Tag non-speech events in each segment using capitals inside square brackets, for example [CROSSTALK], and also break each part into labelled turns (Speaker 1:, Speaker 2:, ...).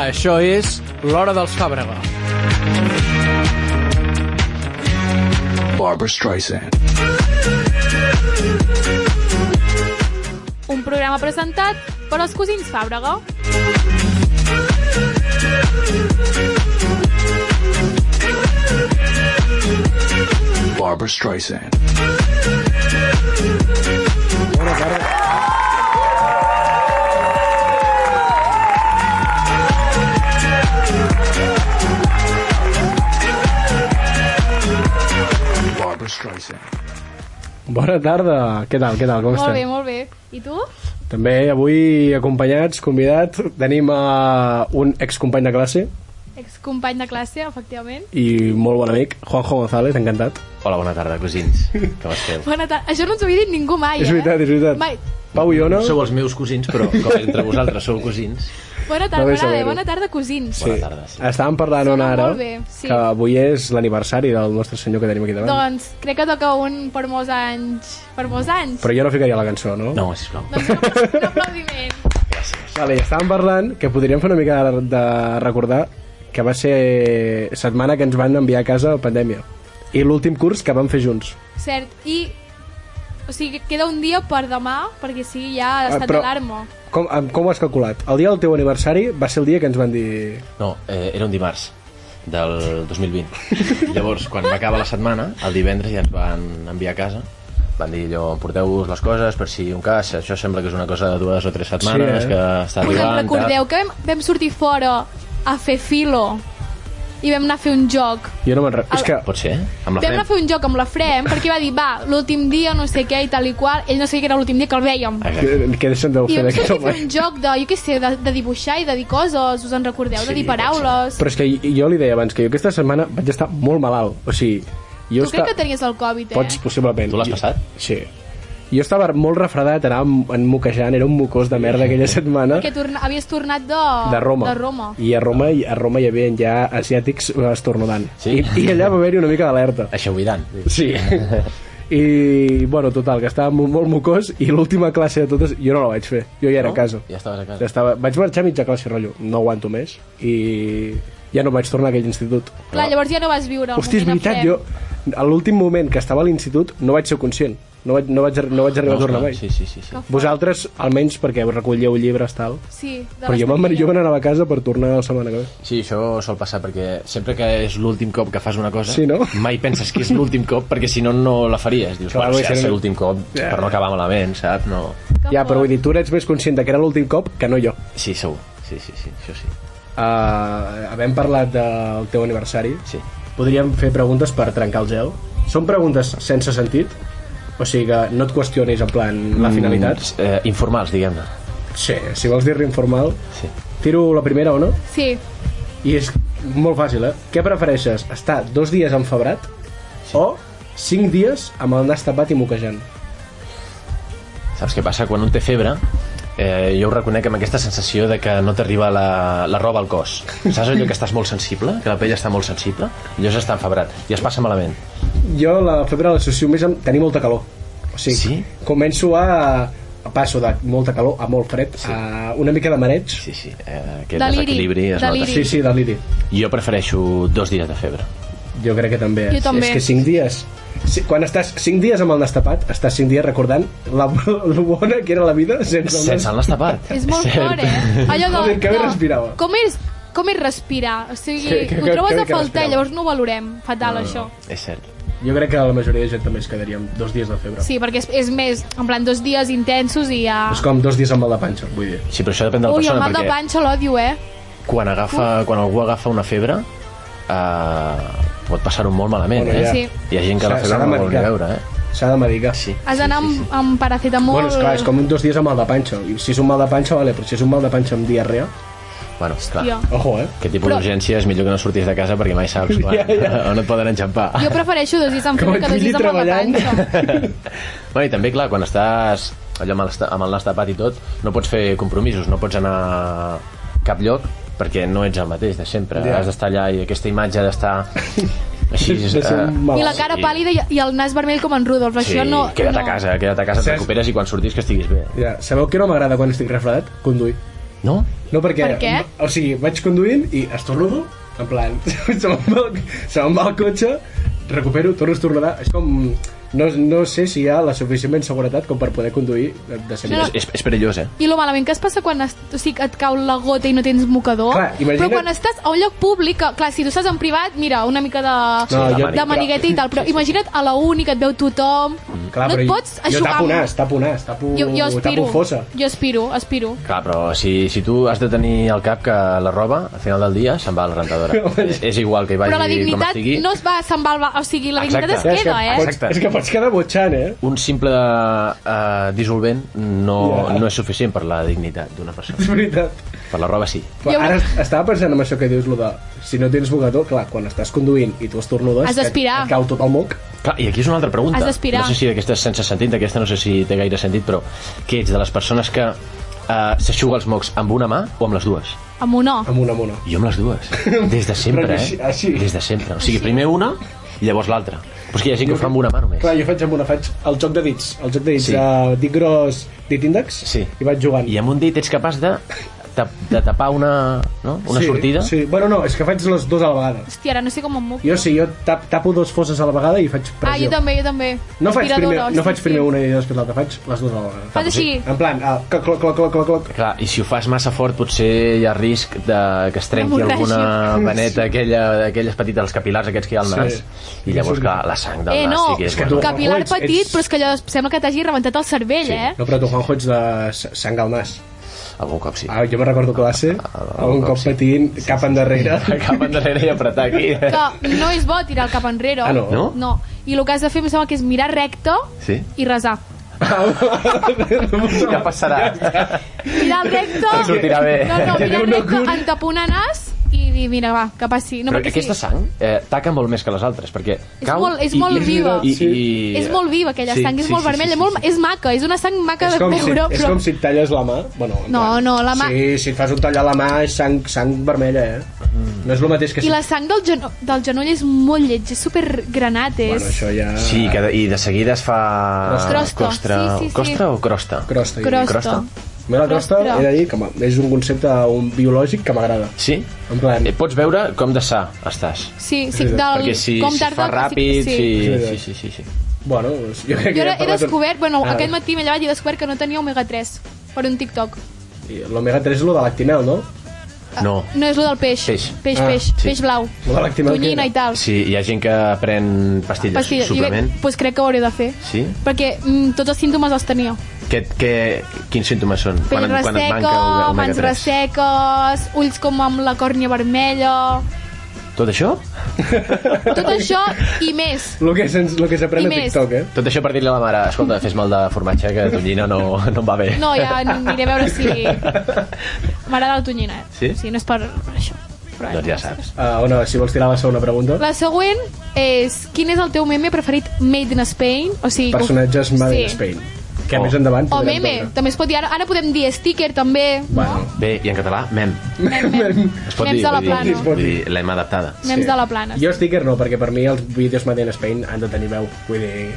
Speaker 1: Això és l'Hora dels Fàbrega.
Speaker 2: Barbara Streisand.
Speaker 3: Un programa presentat per els cosins Fàbrega.
Speaker 2: Barbara Streisand. Barbara Streisand.
Speaker 4: Bona tarda. Què tal, què tal, com
Speaker 3: Molt
Speaker 4: estem?
Speaker 3: bé, molt bé. I tu?
Speaker 4: També avui acompanyats, convidat, tenim a un excompany de classe
Speaker 3: Excompany de classe, efectivament.
Speaker 4: i molt bon amic, Juanjo González, encantat.
Speaker 5: Hola, bona tarda, cosins. Com esteu?
Speaker 3: Bona tarda. Això no ens ho havia dit ningú mai,
Speaker 4: és
Speaker 3: eh?
Speaker 4: veritat, és veritat.
Speaker 3: Mai.
Speaker 4: Pau Iona,
Speaker 5: [LAUGHS] Sou els meus cosins, però com entre vosaltres sou cosins...
Speaker 3: Bona
Speaker 4: No
Speaker 3: tarda,
Speaker 4: vull
Speaker 3: Merade.
Speaker 4: saber-ho.
Speaker 3: Bona tarda, cosins.
Speaker 5: Bona tarda, sí.
Speaker 4: eh, estàvem parlant on
Speaker 3: Sona
Speaker 4: ara
Speaker 3: molt bé, sí.
Speaker 4: que avui és l'aniversari del nostre senyor que tenim aquí davant.
Speaker 3: Doncs crec que toca un per molts anys. Per molts anys.
Speaker 4: Però jo no ficaria la cançó, no?
Speaker 5: No, sisplau.
Speaker 3: Doncs un, un aplaudiment.
Speaker 4: Vale, i estàvem parlant que podríem fer una mica de, de recordar que va ser setmana que ens van enviar a casa a pandèmia i l'últim curs que vam fer junts.
Speaker 3: Cert. I o sigui, queda un dia per demà, perquè sigui ja
Speaker 4: Ah,
Speaker 3: estat
Speaker 4: Eh, però-
Speaker 3: d'alarma.
Speaker 4: Com, amb- com ho has calculat? El dia del teu aniversari va ser el dia que ens van dir...
Speaker 5: No, eh, era un dimarts del 2020. Llavors, quan va acabar la setmana, el divendres ja ens van enviar a casa. Van dir allò, porteu-vos les coses per si un cas, això sembla que és una cosa de dues o tres setmanes,
Speaker 4: Sí, eh?
Speaker 5: que està
Speaker 3: Us en
Speaker 5: arribant...
Speaker 3: recordeu que vam, vam sortir fora a fer filo i vam anar a fer un joc.
Speaker 4: Jo no me'n recordo. És que...
Speaker 5: tal. Pot ser? eh? Amb la
Speaker 3: Vam anar a
Speaker 5: frem?
Speaker 3: fer un joc amb la Frem perquè va dir, va, l'últim dia, no sé què, i tal i qual. Ell no sabia que era l'últim dia que el vèiem.
Speaker 5: Exacte.
Speaker 4: eh, Que, que deixen de
Speaker 3: I
Speaker 4: fer
Speaker 3: vam
Speaker 4: d'aquest
Speaker 3: sortir a
Speaker 4: home.
Speaker 3: fer un joc de, jo què sé, de, de dibuixar i de dir coses, us en recordeu?
Speaker 5: Sí,
Speaker 3: de dir
Speaker 5: pot ser.
Speaker 3: paraules.
Speaker 4: Però és que jo li deia abans que jo aquesta setmana vaig estar molt malalt. O sigui,
Speaker 3: Tu
Speaker 4: jo
Speaker 3: crec que tenies el Covid, eh?
Speaker 4: Pots, possiblement.
Speaker 5: Tu l'has
Speaker 4: Jo-
Speaker 5: passat?
Speaker 4: Sí. Jo estava molt refredat, anava enmoquejant, era un mocós de merda aquella setmana.
Speaker 3: Que torna, havies tornat de...
Speaker 4: de Roma.
Speaker 3: De Roma.
Speaker 4: I a Roma, a Roma hi havia ja asiàtics estornudant.
Speaker 5: Sí?
Speaker 4: I, I allà va haver-hi una mica d'alerta.
Speaker 5: Això ho tant.
Speaker 4: Sí. I, bueno, total, que estava molt, molt mocós i l'última classe de totes jo no la vaig fer. Jo ja era
Speaker 5: No?
Speaker 4: a casa.
Speaker 5: Ja estaves a casa.
Speaker 4: Ja estava... Vaig marxar mitja classe, rotllo. No aguanto més. I ja no vaig tornar a aquell institut.
Speaker 3: Clar, llavors ja no vas viure el
Speaker 4: Ah. Hosti, és
Speaker 3: moment a
Speaker 4: veritat,
Speaker 3: Frem.
Speaker 4: jo a l'últim moment que estava a l'institut no vaig ser conscient. No vaig, no vaig, no vaig arribar a tornar mai.
Speaker 5: Sí, sí, sí. sí.
Speaker 4: Vosaltres, almenys perquè recolleu llibres, tal.
Speaker 3: Sí, de
Speaker 4: Però jo,
Speaker 3: les
Speaker 4: me'n-
Speaker 3: teves.
Speaker 4: jo me n'anava a casa per tornar la setmana que ve.
Speaker 5: Sí, això sol passar perquè sempre que és l'últim cop que fas una cosa
Speaker 4: Sí, no?
Speaker 5: mai penses que és l'últim cop perquè si no no la faries dius,
Speaker 4: Clar,
Speaker 5: Clar, bueno,
Speaker 4: vull
Speaker 5: si ha de
Speaker 4: ser
Speaker 5: ser
Speaker 4: una-
Speaker 5: l'últim cop
Speaker 4: Ja.
Speaker 5: per no acabar malament, saps? No...
Speaker 3: Que
Speaker 4: Ja, però
Speaker 3: fort.
Speaker 4: vull dir, tu n'ets més conscient de que era l'últim cop que no jo.
Speaker 5: Sí, segur, sí, sí, sí, això sí
Speaker 4: Uh, havent parlat del teu aniversari,
Speaker 5: Sí.
Speaker 4: podríem fer preguntes per trencar el gel. Són preguntes sense sentit, o sigui que no et qüestionis en plan la finalitat.
Speaker 5: Mm, eh, informals, diguem-ne
Speaker 4: Sí, si vols dir-li informal,
Speaker 5: sí.
Speaker 4: tiro la primera o no?
Speaker 3: Sí,
Speaker 4: I és molt fàcil, eh? Què prefereixes, estar dos dies enfebrat o cinc dies amb el nas tapat i moquejant?
Speaker 5: Saps què passa? Quan un té febre eh, jo ho reconec amb aquesta sensació de que no t'arriba la, la roba al cos saps allò que estàs molt sensible? que la pell està molt sensible? llavors està enfebrat i es passa malament
Speaker 4: Jo la febre l'associo més amb tenir molta calor. O sigui,
Speaker 5: Sí?
Speaker 4: començo a, a passo de molta calor a molt fred, a una mica de mareig.
Speaker 5: sí, sí, eh, aquest
Speaker 3: Deliri,
Speaker 5: desequilibri es
Speaker 3: deliri.
Speaker 5: nota
Speaker 4: Sí, sí, deliri.
Speaker 5: jo prefereixo dos dies de febre
Speaker 4: Jo crec que també.
Speaker 3: Jo també.
Speaker 4: És que 5 dies... Si, quan estàs 5 dies amb el nas tapat, estàs 5 dies recordant la, [LAUGHS] lo bona que era la vida sense el nas.
Speaker 5: sense el nas tapat
Speaker 3: és molt
Speaker 5: Cert.
Speaker 4: [LAUGHS]
Speaker 3: fort, eh? Allò de...
Speaker 4: Joder, que bé
Speaker 3: de-
Speaker 4: respirava.
Speaker 3: Com és, com és respirar? O sigui,
Speaker 4: Que- que-
Speaker 3: ho
Speaker 4: que-
Speaker 3: trobes
Speaker 4: que-
Speaker 3: a
Speaker 4: que
Speaker 3: faltar,
Speaker 4: respirava.
Speaker 3: llavors no ho valorem. Fatal, això.
Speaker 5: És cert.
Speaker 4: Jo crec que la majoria de gent també es quedaria amb dos dies de febre.
Speaker 3: Sí, perquè és, és més, en plan, dos dies intensos i ja...
Speaker 4: És com dos dies amb mal de panxa, vull dir.
Speaker 5: Sí, però això depèn de la
Speaker 3: Ui, el
Speaker 5: persona,
Speaker 3: mal de
Speaker 5: perquè
Speaker 3: panxa l'odio, eh?
Speaker 5: quan, agafa, quan algú agafa una febre, eh, pot passar-ho molt malament,
Speaker 4: Bueno,
Speaker 5: eh?
Speaker 4: ja.
Speaker 3: Sí.
Speaker 5: Hi ha gent que la
Speaker 4: S'ha-
Speaker 5: febre
Speaker 4: s'ha de
Speaker 5: no la vol ni
Speaker 4: medicar.
Speaker 5: veure, eh?
Speaker 4: S'ha de medicar.
Speaker 5: Sí.
Speaker 3: Has d'anar amb, amb paracetamol...
Speaker 4: Bueno, esclar, és com un dos dies amb mal de panxa. I si és un mal de panxa, vale, però si és un mal de panxa amb diarrea...
Speaker 5: Bueno, clar,
Speaker 3: Jo.
Speaker 4: Ojo, eh?
Speaker 5: aquest tipus
Speaker 3: Però-
Speaker 5: d'urgència és millor que no sortis de casa perquè mai saps quan,
Speaker 4: [LAUGHS] Ja, ja.
Speaker 5: [LAUGHS] on et poden enxampar.
Speaker 3: Jo prefereixo dos dies
Speaker 4: [LAUGHS]
Speaker 3: amb
Speaker 4: Com
Speaker 3: febre que
Speaker 4: et
Speaker 3: dos dies
Speaker 4: pilli
Speaker 3: amb mal de panxa.
Speaker 4: [LAUGHS]
Speaker 5: Bueno, i també, clar, quan estàs allò amb el, esta- amb el nas tapat i tot, no pots fer compromisos, no pots anar a cap lloc perquè no ets el mateix de sempre.
Speaker 4: Ja.
Speaker 5: Has d'estar allà i aquesta imatge
Speaker 4: [LAUGHS]
Speaker 5: d'estar així...
Speaker 4: De ser un
Speaker 5: eh,
Speaker 4: malalt.
Speaker 3: I la cara
Speaker 5: Sí.
Speaker 3: pàl·lida i, i el nas vermell com en Rudolf. Això
Speaker 5: sí,
Speaker 3: no...
Speaker 5: queda't
Speaker 3: no.
Speaker 5: a casa, queda't a casa, et
Speaker 4: Saps?
Speaker 5: recuperes i quan sortis que estiguis bé.
Speaker 4: Ja, sabeu que no m'agrada quan estic refredat? Conduir.
Speaker 5: No?
Speaker 4: No, perquè...
Speaker 3: Per què?
Speaker 4: O sigui, vaig conduint i estornudo, en plan, [LAUGHS] se me'n va, el- se me'n va el cotxe, recupero, torno a estornudar. És com... No, no sé si hi ha la suficientment seguretat com per poder conduir de, de
Speaker 5: És,
Speaker 4: seguida.
Speaker 5: és, és perillós, eh?
Speaker 3: I lo malament que es passa quan es, o sigui, et cau la gota i no tens mocador.
Speaker 4: Clar, imagina't-
Speaker 3: Però quan estàs a un lloc públic, que, clar, si tu estàs en privat, mira, una mica de,
Speaker 4: No,
Speaker 3: de
Speaker 4: jo-
Speaker 3: de manigueta i tal, però imagina't a la uni que et veu tothom. no et
Speaker 4: però
Speaker 3: pots
Speaker 4: jo
Speaker 3: aixugar.
Speaker 4: tapo nas, tapo nas, tapo,
Speaker 3: jo, jo aspiro.
Speaker 4: tapo fossa.
Speaker 3: Jo aspiro, aspiro.
Speaker 5: Clar, però si, si tu has de tenir al cap que la roba, al final del dia, se'n va a la rentadora. és, és igual que hi vagi
Speaker 3: però la
Speaker 5: com
Speaker 3: dignitat
Speaker 5: estigui.
Speaker 3: no es va salvar, o sigui, la dignitat
Speaker 5: Exacte.
Speaker 4: és,
Speaker 3: es
Speaker 4: que
Speaker 3: queda, eh?
Speaker 4: pots,
Speaker 5: Exacte.
Speaker 4: és que pots quedar botxant, eh? [LAUGHS]
Speaker 5: Un simple uh, dissolvent no,
Speaker 4: Ja.
Speaker 5: no és suficient per la dignitat d'una persona.
Speaker 4: És veritat.
Speaker 5: Per la roba sí.
Speaker 4: Però
Speaker 3: Jo-
Speaker 4: ara est- estava pensant en això que dius, lo de, si no tens bogató, clar, quan estàs conduint i tu estornudes,
Speaker 3: Has d'aspirar.
Speaker 4: et, et cau tot el moc.
Speaker 5: Clar, I aquí és una altra pregunta.
Speaker 3: Has d'aspirar.
Speaker 5: No sé si d'aquesta és sense sentit, d'aquesta no sé si té gaire sentit, però què ets, de les persones que uh, s'aixuga els mocs amb una mà o amb les dues?
Speaker 3: Amb un no.
Speaker 4: Amb una, amb una.
Speaker 5: Jo amb les
Speaker 4: [LAUGHS]
Speaker 5: dues. Des de sempre,
Speaker 4: Però
Speaker 5: eh?
Speaker 4: així- així.
Speaker 5: Des de sempre. O sigui, primer una i llavors l'altra. Però és que hi ha gent que ho fa amb una mà només.
Speaker 4: Clar, jo faig amb una, faig el joc de dits, el joc de dits,
Speaker 5: Sí.
Speaker 4: sí. uh, dit gros, dit índex,
Speaker 5: Sí.
Speaker 4: i vaig jugant.
Speaker 5: I amb un dit ets capaç de, de, de tapar una, no? una
Speaker 4: sí,
Speaker 5: sortida?
Speaker 4: Sí, bueno, no, és que faig les dues a la vegada.
Speaker 3: Hòstia, ara no sé com em moc.
Speaker 4: Jo sí, jo tap, tapo dos fosses a la vegada i faig pressió.
Speaker 3: Ah, jo també, jo també.
Speaker 4: No faig,
Speaker 3: Aspiradora,
Speaker 4: primer, no
Speaker 3: hòstia,
Speaker 4: faig
Speaker 3: sí.
Speaker 4: primer una i després l'altra, faig les dues a la vegada.
Speaker 3: Fas així.
Speaker 4: En plan, ah, cloc, cloc, cloc, cloc, cloc, cloc.
Speaker 5: Clar, i si ho fas massa fort potser hi ha risc de que es trenqui
Speaker 3: Hemorràgia. [LAUGHS]
Speaker 5: alguna veneta, aquella, aquelles petites, els capilars aquests que hi ha al nas.
Speaker 4: Sí.
Speaker 5: I llavors, clar, la sang del
Speaker 3: Eh,
Speaker 5: nas
Speaker 3: no,
Speaker 5: sí que és...
Speaker 3: és que
Speaker 5: bueno.
Speaker 4: tu-
Speaker 3: capilar
Speaker 4: Ets-
Speaker 3: petit,
Speaker 4: ets-
Speaker 3: però és que allò sembla que t'hagi rebentat el cervell, eh?
Speaker 4: No, però tu, Juanjo, ets de s- sang al nas.
Speaker 5: Algun cop sí.
Speaker 4: Ah, jo me recordo classe,
Speaker 5: ah,
Speaker 4: algun
Speaker 5: ah,
Speaker 4: cop
Speaker 5: sí.
Speaker 4: patint, cap endarrere.
Speaker 5: [LAUGHS]
Speaker 4: [LAUGHS]
Speaker 5: Cap enrere i apretar aquí.
Speaker 3: que no és bo tirar el cap enrere.
Speaker 4: Ah, no?
Speaker 5: No?
Speaker 3: No. I el que has de fer, em sembla que és mirar recte
Speaker 5: Sí.
Speaker 3: i resar.
Speaker 5: Ja passarà.
Speaker 3: Mirar recte...
Speaker 5: Em sortirà bé.
Speaker 3: No, no,
Speaker 4: Que
Speaker 3: mirar
Speaker 4: Déu no
Speaker 3: recte,
Speaker 4: curi.
Speaker 3: entaponar nas i dir, mira, va, que passi. No,
Speaker 5: Però
Speaker 3: perquè
Speaker 5: aquesta
Speaker 3: sí.
Speaker 5: sang eh, taca molt més que les altres, perquè
Speaker 3: És
Speaker 5: cau...
Speaker 3: molt- és molt viva. És molt viva, aquella
Speaker 5: Sí,
Speaker 3: sang, és
Speaker 5: sí,
Speaker 3: molt
Speaker 5: sí,
Speaker 3: vermella,
Speaker 5: sí, sí,
Speaker 3: molt,
Speaker 5: sí.
Speaker 3: és maca, és una sang maca
Speaker 4: És
Speaker 3: de
Speaker 4: com, si,
Speaker 3: veure,
Speaker 4: és
Speaker 3: però...
Speaker 4: com si et talles la mà bueno, en
Speaker 3: No,
Speaker 4: plan,
Speaker 3: no, la mà-
Speaker 4: sí, si et fas un tall a la mà és sang, sang vermella eh? no és el mateix que
Speaker 3: I la sang del, geno del genoll és molt lleig, és supergranat, és...
Speaker 4: bueno, això ja...
Speaker 5: Sí, que de, i de seguida es fa...
Speaker 3: Crosta.
Speaker 5: Costra,
Speaker 3: Sí, sí, sí.
Speaker 5: costra o crosta?
Speaker 4: crosta, jo dic.
Speaker 3: Crosta.
Speaker 5: crosta.
Speaker 4: a mi la crosta
Speaker 3: Crosta.
Speaker 4: he de dir que m'ha- és un concepte un biològic que m'agrada
Speaker 5: Sí?
Speaker 4: en plan,
Speaker 5: Eh, pots veure com de sa estàs.
Speaker 3: Sí, sí, del,
Speaker 5: Perquè si,
Speaker 3: com
Speaker 5: si
Speaker 3: tarda...
Speaker 5: fa ràpid...
Speaker 3: sí,
Speaker 5: Sí, sí, sí,
Speaker 4: Sí,
Speaker 5: sí, sí, sí.
Speaker 4: bueno, jo crec que
Speaker 3: Jo ara he
Speaker 4: parlat-
Speaker 3: descobert, bueno,
Speaker 4: Ah,
Speaker 3: aquest matí m'he llevat i he descobert que no tenia omega-3 per un TikTok. Ah,
Speaker 4: i l'omega 3 és el de l'actinel, no?
Speaker 5: No.
Speaker 3: No, és lo del peix.
Speaker 5: Peix.
Speaker 3: peix,
Speaker 4: Ah,
Speaker 3: peix,
Speaker 5: sí.
Speaker 3: peix blau.
Speaker 4: Lo de l'actinel
Speaker 3: Tonyina
Speaker 4: que
Speaker 3: i tal.
Speaker 5: Sí, hi ha gent que pren pastilles,
Speaker 3: Pastilla.
Speaker 5: pastilles suplement.
Speaker 3: doncs crec que ho hauré de fer.
Speaker 5: Sí?
Speaker 3: Perquè mm, tots els símptomes els tenia.
Speaker 5: Que, que, quins símptomes són?
Speaker 3: Pell resseca,
Speaker 5: omega- omega
Speaker 3: mans
Speaker 5: tres?
Speaker 3: resseques, ulls com amb la còrnia vermella...
Speaker 5: Tot això?
Speaker 3: Tot
Speaker 5: [LAUGHS]
Speaker 3: això i més.
Speaker 4: el que se'ns- lo que s'aprèn
Speaker 3: I
Speaker 4: a
Speaker 3: més.
Speaker 4: TikTok, eh?
Speaker 5: Tot això per dir-li a la mare, escolta, fes mal de formatge,
Speaker 3: [LAUGHS]
Speaker 5: que tonyina no, no em va bé.
Speaker 3: No, ja aniré a veure si... M'agrada la tonyina, eh?
Speaker 5: Sí?
Speaker 3: O sigui, no és per això. Però, eh.
Speaker 5: Doncs ja saps.
Speaker 4: Uh, Ona, si vols tirar la segona pregunta.
Speaker 3: La següent és... Quin és el teu meme preferit Made in Spain? O sigui,
Speaker 4: Personatges Made in Spain. Que
Speaker 5: Oh.
Speaker 4: més endavant...
Speaker 3: O
Speaker 4: podrem
Speaker 3: meme,
Speaker 4: veure.
Speaker 3: també es pot dir. Ara, ara podem dir sticker, també.
Speaker 4: Bueno,
Speaker 5: Bé, i en català, mem.
Speaker 3: Mem, mem.
Speaker 5: Es pot
Speaker 3: Mems
Speaker 5: dir,
Speaker 3: de la
Speaker 5: vull dir,
Speaker 3: plana.
Speaker 5: vull dir, l'hem adaptada.
Speaker 3: Mems de la plana.
Speaker 4: Jo sticker no, perquè per mi els vídeos Made in Spain han de tenir veu. Vull dir,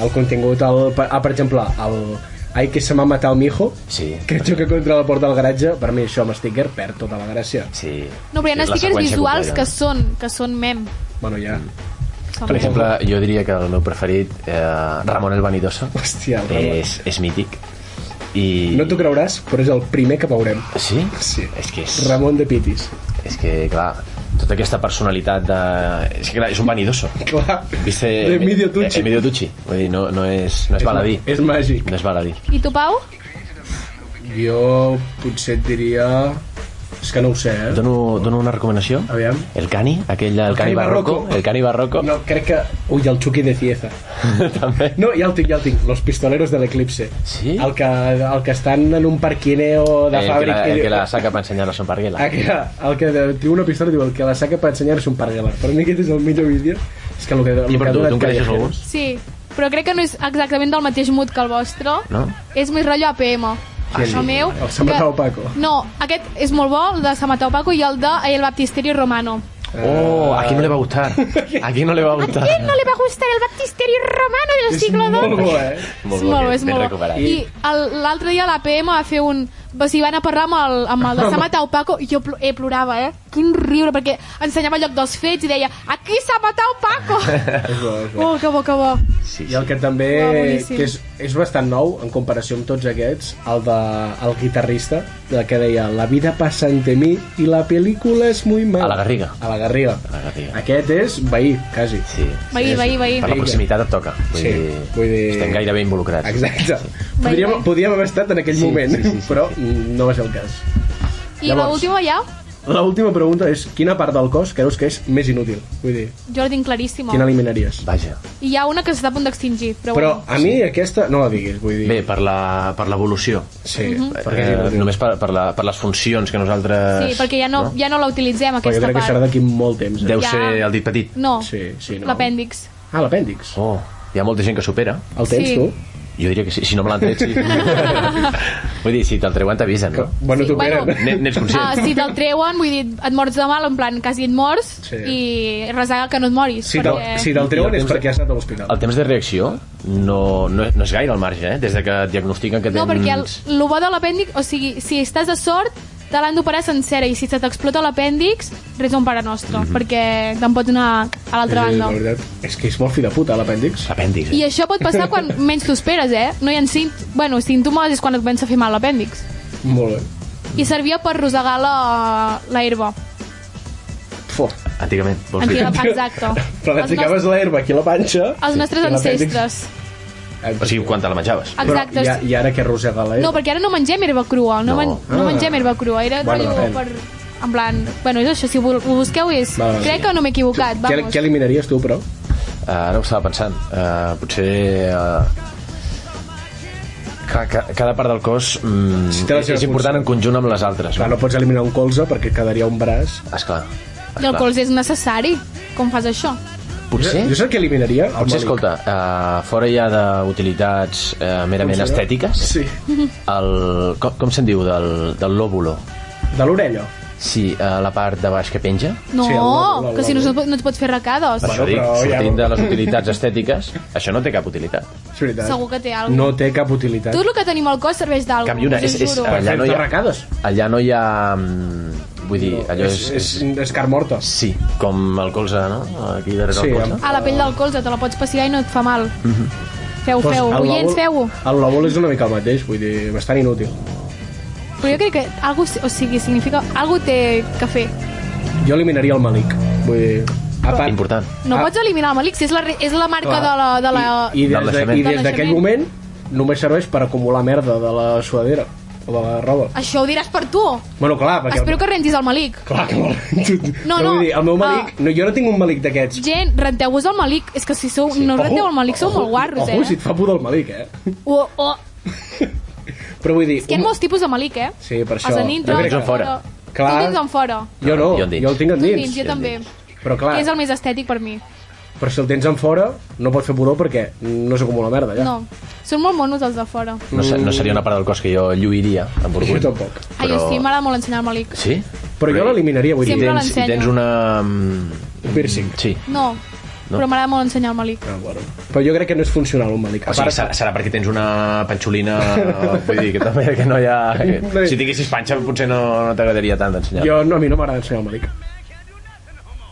Speaker 4: el contingut... El, ah, per exemple, el... Ai, que se m'ha matat el mijo,
Speaker 5: Sí.
Speaker 4: que xoca contra la porta del garatge, per mi això amb sticker perd tota la gràcia.
Speaker 5: Sí.
Speaker 3: No, però hi ha
Speaker 5: La
Speaker 3: stickers
Speaker 5: seqüència
Speaker 3: visuals
Speaker 5: completa.
Speaker 3: que són, que són mem.
Speaker 4: Bueno, ja...
Speaker 5: Mm.
Speaker 3: Són
Speaker 5: Per
Speaker 3: mem.
Speaker 5: exemple, jo diria que el meu preferit, eh, Ramon el Vanidoso,
Speaker 4: Hòstia, el Ramon.
Speaker 5: [LAUGHS] és, és mític. I...
Speaker 4: No t'ho creuràs, però és el primer que veurem.
Speaker 5: Sí?
Speaker 4: Sí.
Speaker 5: És que és...
Speaker 4: Ramon de Pitis.
Speaker 5: És que, clar, tota aquesta personalitat de... És que, clar, és un vanidoso.
Speaker 4: Clar.
Speaker 5: Viste... Eh,
Speaker 4: De Emilio Tucci.
Speaker 5: Emilio Tucci. Vull dir, no, no és, no és baladí.
Speaker 4: És màgic.
Speaker 5: No és baladí.
Speaker 3: I tu, Pau?
Speaker 4: Jo potser et diria... És que no ho sé, eh?
Speaker 5: Dono, dono una recomanació.
Speaker 4: Aviam.
Speaker 5: El cani, aquell del
Speaker 4: Cani
Speaker 5: cani barroco.
Speaker 4: Barroco.
Speaker 5: El cani barroco.
Speaker 4: No, crec que... Ui, el Chucky de Cieza.
Speaker 5: [LAUGHS] També.
Speaker 4: No, ja el tinc, ja el tinc. Los pistoleros de l'eclipse.
Speaker 5: Sí?
Speaker 4: El que, el que estan en un parquineo de
Speaker 5: el, que
Speaker 4: fàbrica.
Speaker 5: la, el que la saca per ensenyar-la a son parguela.
Speaker 4: El ah, que, el que de- diu una pistola diu el que la saca per ensenyar-se un parguela. Per mi aquest és el millor vídeo. És que el que, el
Speaker 5: I
Speaker 4: que
Speaker 5: per tu,
Speaker 4: dura
Speaker 5: tu en
Speaker 4: et calla.
Speaker 5: coneixes alguns?
Speaker 3: Sí, però crec que no és exactament del mateix mood que el vostre.
Speaker 5: No?
Speaker 3: És més rotllo APM.
Speaker 5: Ah, sí.
Speaker 3: El meu...
Speaker 4: El Samata Opaco.
Speaker 3: No, aquest és molt bo, el de Samata Opaco i el de El Baptisterio Romano.
Speaker 4: Ah.
Speaker 5: Oh, aquí no le va
Speaker 4: [LAUGHS]
Speaker 5: a gustar. Aquí no le va a gustar.
Speaker 3: ¿Quién no le va a gustar El Baptisterio Romano del
Speaker 4: És
Speaker 3: siglo
Speaker 4: molt
Speaker 3: II?
Speaker 4: bo, eh?
Speaker 3: és molt, bo, és molt bo.
Speaker 5: recuperat.
Speaker 3: I el- l'altre dia l'APM va fer un o sigui, van a parlar amb el, amb el de S'ha matat Paco i jo pl eh, plorava, eh? Quin riure, perquè ensenyava el lloc dels fets i deia aquí s'ha matat Paco!
Speaker 4: [LAUGHS] És bo, és bo.
Speaker 3: oh, que bo, que bo.
Speaker 5: Sí,
Speaker 4: I el que també
Speaker 3: Uau, boníssim.
Speaker 4: que és, és bastant nou en comparació amb tots aquests, el de el guitarrista, de que deia La vida passa entre mi i la pel·lícula és muy mal.
Speaker 5: A la Garriga.
Speaker 4: A la Garriga.
Speaker 5: A la Garriga.
Speaker 4: Aquest és veí, quasi.
Speaker 5: Sí.
Speaker 3: Veí,
Speaker 5: sí,
Speaker 3: veí,
Speaker 5: sí.
Speaker 3: veí.
Speaker 5: Per la proximitat et toca. Vull
Speaker 4: Sí,
Speaker 5: dir,
Speaker 4: vull dir-
Speaker 5: Estem gairebé involucrats.
Speaker 4: Exacte.
Speaker 3: Veí,
Speaker 4: Podríem,
Speaker 3: veí.
Speaker 4: podríem haver estat en aquell
Speaker 5: Sí,
Speaker 4: moment,
Speaker 5: sí, sí, sí,
Speaker 4: però no va ser el cas.
Speaker 3: I
Speaker 4: Llavors.
Speaker 3: l'última ja,
Speaker 4: L'última pregunta és quina part del cos creus que és més inútil? Vull dir,
Speaker 3: jo la tinc claríssima.
Speaker 4: quina eliminaries?
Speaker 5: Vaja.
Speaker 3: I hi ha una que s'està a punt d'extingir, però,
Speaker 4: Però
Speaker 3: bueno.
Speaker 4: a mi aquesta no la diguis, vull dir...
Speaker 5: Bé, per la- per l'evolució.
Speaker 4: Sí,
Speaker 3: Mhm.
Speaker 4: perquè és
Speaker 5: Eh,
Speaker 4: inútil.
Speaker 5: només per, per, la, per les funcions que nosaltres...
Speaker 3: Sí, perquè ja no, ja no la utilitzem,
Speaker 4: Però jo
Speaker 3: aquesta
Speaker 4: eh, crec que serà
Speaker 3: part.
Speaker 4: d'aquí molt temps. Eh?
Speaker 5: Deu
Speaker 3: Ja.
Speaker 5: ser el dit petit.
Speaker 3: No,
Speaker 4: Sí, sí, no.
Speaker 3: l'apèndix.
Speaker 4: Ah, l'apèndix.
Speaker 5: Oh, hi ha molta gent que supera.
Speaker 4: El tens,
Speaker 3: Sí.
Speaker 4: tu?
Speaker 5: Jo diria que sí, si no me l'han
Speaker 4: [LAUGHS]
Speaker 5: tret, sí. Vull dir, si te'l treuen t'avisen, no?
Speaker 4: Bueno,
Speaker 3: Sí,
Speaker 4: t'ho
Speaker 3: bueno.
Speaker 4: peren.
Speaker 5: N- N'ets
Speaker 3: Ah,
Speaker 5: conscient?
Speaker 3: si te'l treuen, vull dir, et mors de mal, en plan, quasi et mors,
Speaker 4: Sí.
Speaker 3: i resaga que no et moris.
Speaker 4: Si te'l
Speaker 3: perquè...
Speaker 4: si te'l treuen és perquè has anat a
Speaker 5: El
Speaker 4: l'hospital.
Speaker 5: temps de reacció no, no, no és gaire al marge, eh? Des de que et diagnostiquen que tens...
Speaker 3: No, perquè el,
Speaker 4: Mm.
Speaker 3: el bo de l'apèndix, o sigui, si estàs de sort, te l'han d'operar sencera, i si se t'explota l'apèndix, resa un pare nostre, mm -hmm. perquè te'n pots anar a l'altra
Speaker 4: Mm-hmm. Sí,
Speaker 3: banda.
Speaker 4: la veritat, és que és molt fill de puta, l'apèndix.
Speaker 5: L'apèndix,
Speaker 3: I
Speaker 5: eh?
Speaker 3: això pot passar quan menys t'ho esperes, eh? No hi ha sínt... bueno, símptomes és quan et comença a fer mal l'apèndix.
Speaker 4: Molt bé.
Speaker 3: I servia per rosegar la, la herba.
Speaker 4: Fo.
Speaker 5: Antigament, vols dir?
Speaker 3: Antiga, exacte.
Speaker 4: [LAUGHS] Però et ficaves l'herba aquí a la panxa...
Speaker 3: els nostres
Speaker 4: i l'apèndix-
Speaker 3: ancestres.
Speaker 5: O sigui, quan te la menjaves.
Speaker 4: Eh, Però
Speaker 3: Exacte.
Speaker 4: i, a- I ara que arrossega l'herba?
Speaker 3: No, perquè ara no mengem herba crua. No,
Speaker 5: No.
Speaker 3: no. Men no
Speaker 4: Ah.
Speaker 3: mengem herba crua. Era
Speaker 4: Bueno,
Speaker 3: rotllo
Speaker 4: depèn.
Speaker 3: per... En plan... Bueno, és això, si ho, ho busqueu és...
Speaker 4: Vale, vale.
Speaker 3: Crec que no m'he equivocat,
Speaker 4: Què,
Speaker 3: vamos.
Speaker 4: què eliminaries tu, però?
Speaker 5: Uh, ara ho estava pensant. Uh, potser... Uh, ca, ca, cada part del cos mm,
Speaker 4: Sí, té la seva
Speaker 5: és important
Speaker 4: funció.
Speaker 5: en conjunt amb les altres.
Speaker 4: Clar, no pots eliminar un colze perquè quedaria un braç.
Speaker 5: Esclar.
Speaker 3: I el colze és necessari. Com fas això?
Speaker 5: Potser,
Speaker 4: Jo saps què eliminaria? El
Speaker 5: potser
Speaker 4: melic.
Speaker 5: escolta, uh, fora ja d'utilitats uh,
Speaker 4: Potser
Speaker 5: merament
Speaker 4: no.
Speaker 5: estètiques,
Speaker 4: Sí.
Speaker 5: el, com, com se'n diu, del, del lòbulo?
Speaker 4: De l'orella.
Speaker 5: Sí, a la part de baix que penja.
Speaker 3: No,
Speaker 4: Sí, el lòbul, el
Speaker 3: que si no,
Speaker 4: lòbul.
Speaker 3: es- no et pots fer recados.
Speaker 5: Per
Speaker 4: Bueno,
Speaker 5: això dic,
Speaker 4: però ja-
Speaker 5: sortint de les utilitats estètiques, això no té cap utilitat.
Speaker 4: És veritat.
Speaker 3: Segur que té alguna
Speaker 4: No té cap utilitat.
Speaker 3: Tot el que tenim al cos serveix
Speaker 5: En
Speaker 3: d'alguna
Speaker 5: canvi,
Speaker 3: cosa,
Speaker 5: una és... és
Speaker 4: Per fer terracades.
Speaker 5: allà no hi ha... mm, Vull dir, allò
Speaker 4: és, és,
Speaker 5: és
Speaker 4: és car morta.
Speaker 5: Sí, com el colze, no? Aquí darrere
Speaker 4: Sí,
Speaker 5: el colze.
Speaker 4: amb-
Speaker 3: A la pell del colze, te la pots passigar i no et fa mal. Feu,
Speaker 4: Doncs
Speaker 3: feu.
Speaker 4: el
Speaker 3: Oients,
Speaker 4: lòbul-
Speaker 3: feu-ho.
Speaker 4: El lòbul és una mica el mateix, vull dir, bastant inútil.
Speaker 3: Però jo crec que algo, o sigui, significa... Algo té que fer.
Speaker 4: Jo eliminaria el malic. Vull dir, a part...
Speaker 5: Important.
Speaker 3: No
Speaker 4: Ah.
Speaker 3: pots eliminar el malic, si és la, re- és la marca
Speaker 4: Clar.
Speaker 3: de la... De la...
Speaker 4: I, i
Speaker 5: Del
Speaker 4: des de-
Speaker 5: naixement.
Speaker 4: i des
Speaker 3: Del
Speaker 4: d'aquell
Speaker 3: naixement.
Speaker 4: moment només serveix per acumular merda de la suadera o de la roba.
Speaker 3: Això ho diràs per tu.
Speaker 4: Bueno, clar, perquè...
Speaker 3: Espero que rentis el malic.
Speaker 4: Clar, que molt... [LAUGHS]
Speaker 3: No,
Speaker 4: Però
Speaker 3: no,
Speaker 4: vull dir, el meu malic...
Speaker 3: ah.
Speaker 4: No, jo no tinc un malic d'aquests.
Speaker 3: Gent, renteu-vos el malic. És que si sou, no us
Speaker 4: Ojo,
Speaker 3: renteu el malic, sou
Speaker 4: ojo,
Speaker 3: molt guarros,
Speaker 4: Ojo, si
Speaker 3: eh?
Speaker 4: et fa pudor el malic, eh?
Speaker 3: O, o,
Speaker 4: Però vull dir...
Speaker 3: és que hi ha
Speaker 4: un-
Speaker 3: molts tipus de malic, eh?
Speaker 4: Sí, per això.
Speaker 3: Els de dintre,
Speaker 5: Jo
Speaker 3: els
Speaker 5: crec
Speaker 3: de
Speaker 5: que- fora.
Speaker 4: Clar.
Speaker 3: Tu tens en fora.
Speaker 4: Jo no,
Speaker 5: Jo
Speaker 4: jo,
Speaker 5: en dins.
Speaker 4: jo el tinc
Speaker 3: Tu
Speaker 4: endins.
Speaker 3: dins, jo
Speaker 5: jo
Speaker 3: també.
Speaker 4: Però clar,
Speaker 3: És el més estètic per mi.
Speaker 4: però si el tens en fora, no pot fer pudor perquè no s'acumula merda, ja.
Speaker 3: No. Són molt monos els de fora.
Speaker 5: No, se- no seria una part del cos que jo lluiria amb
Speaker 4: Jo
Speaker 5: orgull.
Speaker 4: tampoc.
Speaker 3: Ai,
Speaker 5: Però-
Speaker 3: jo sí, m'agrada molt ensenyar el malic.
Speaker 5: Sí?
Speaker 4: Però jo l'eliminaria, vull
Speaker 5: I
Speaker 3: Sempre
Speaker 4: dir.
Speaker 5: tens, I
Speaker 3: l'ensenyo.
Speaker 5: tens una... mm,
Speaker 4: Un piercing.
Speaker 5: Sí.
Speaker 3: No,
Speaker 5: No.
Speaker 3: però m'agrada molt ensenyar el malic.
Speaker 4: Ah, bueno. Però jo crec que no és funcional un malic.
Speaker 5: O
Speaker 4: A
Speaker 5: sigui,
Speaker 4: part,
Speaker 5: serà, serà perquè tens una panxolina... Vull dir, que també que no hi ha... que- Si tinguessis panxa, potser no, no t'agradaria tant d'ensenyar,
Speaker 4: jo, no, a mi no m'agrada ensenyar el malic.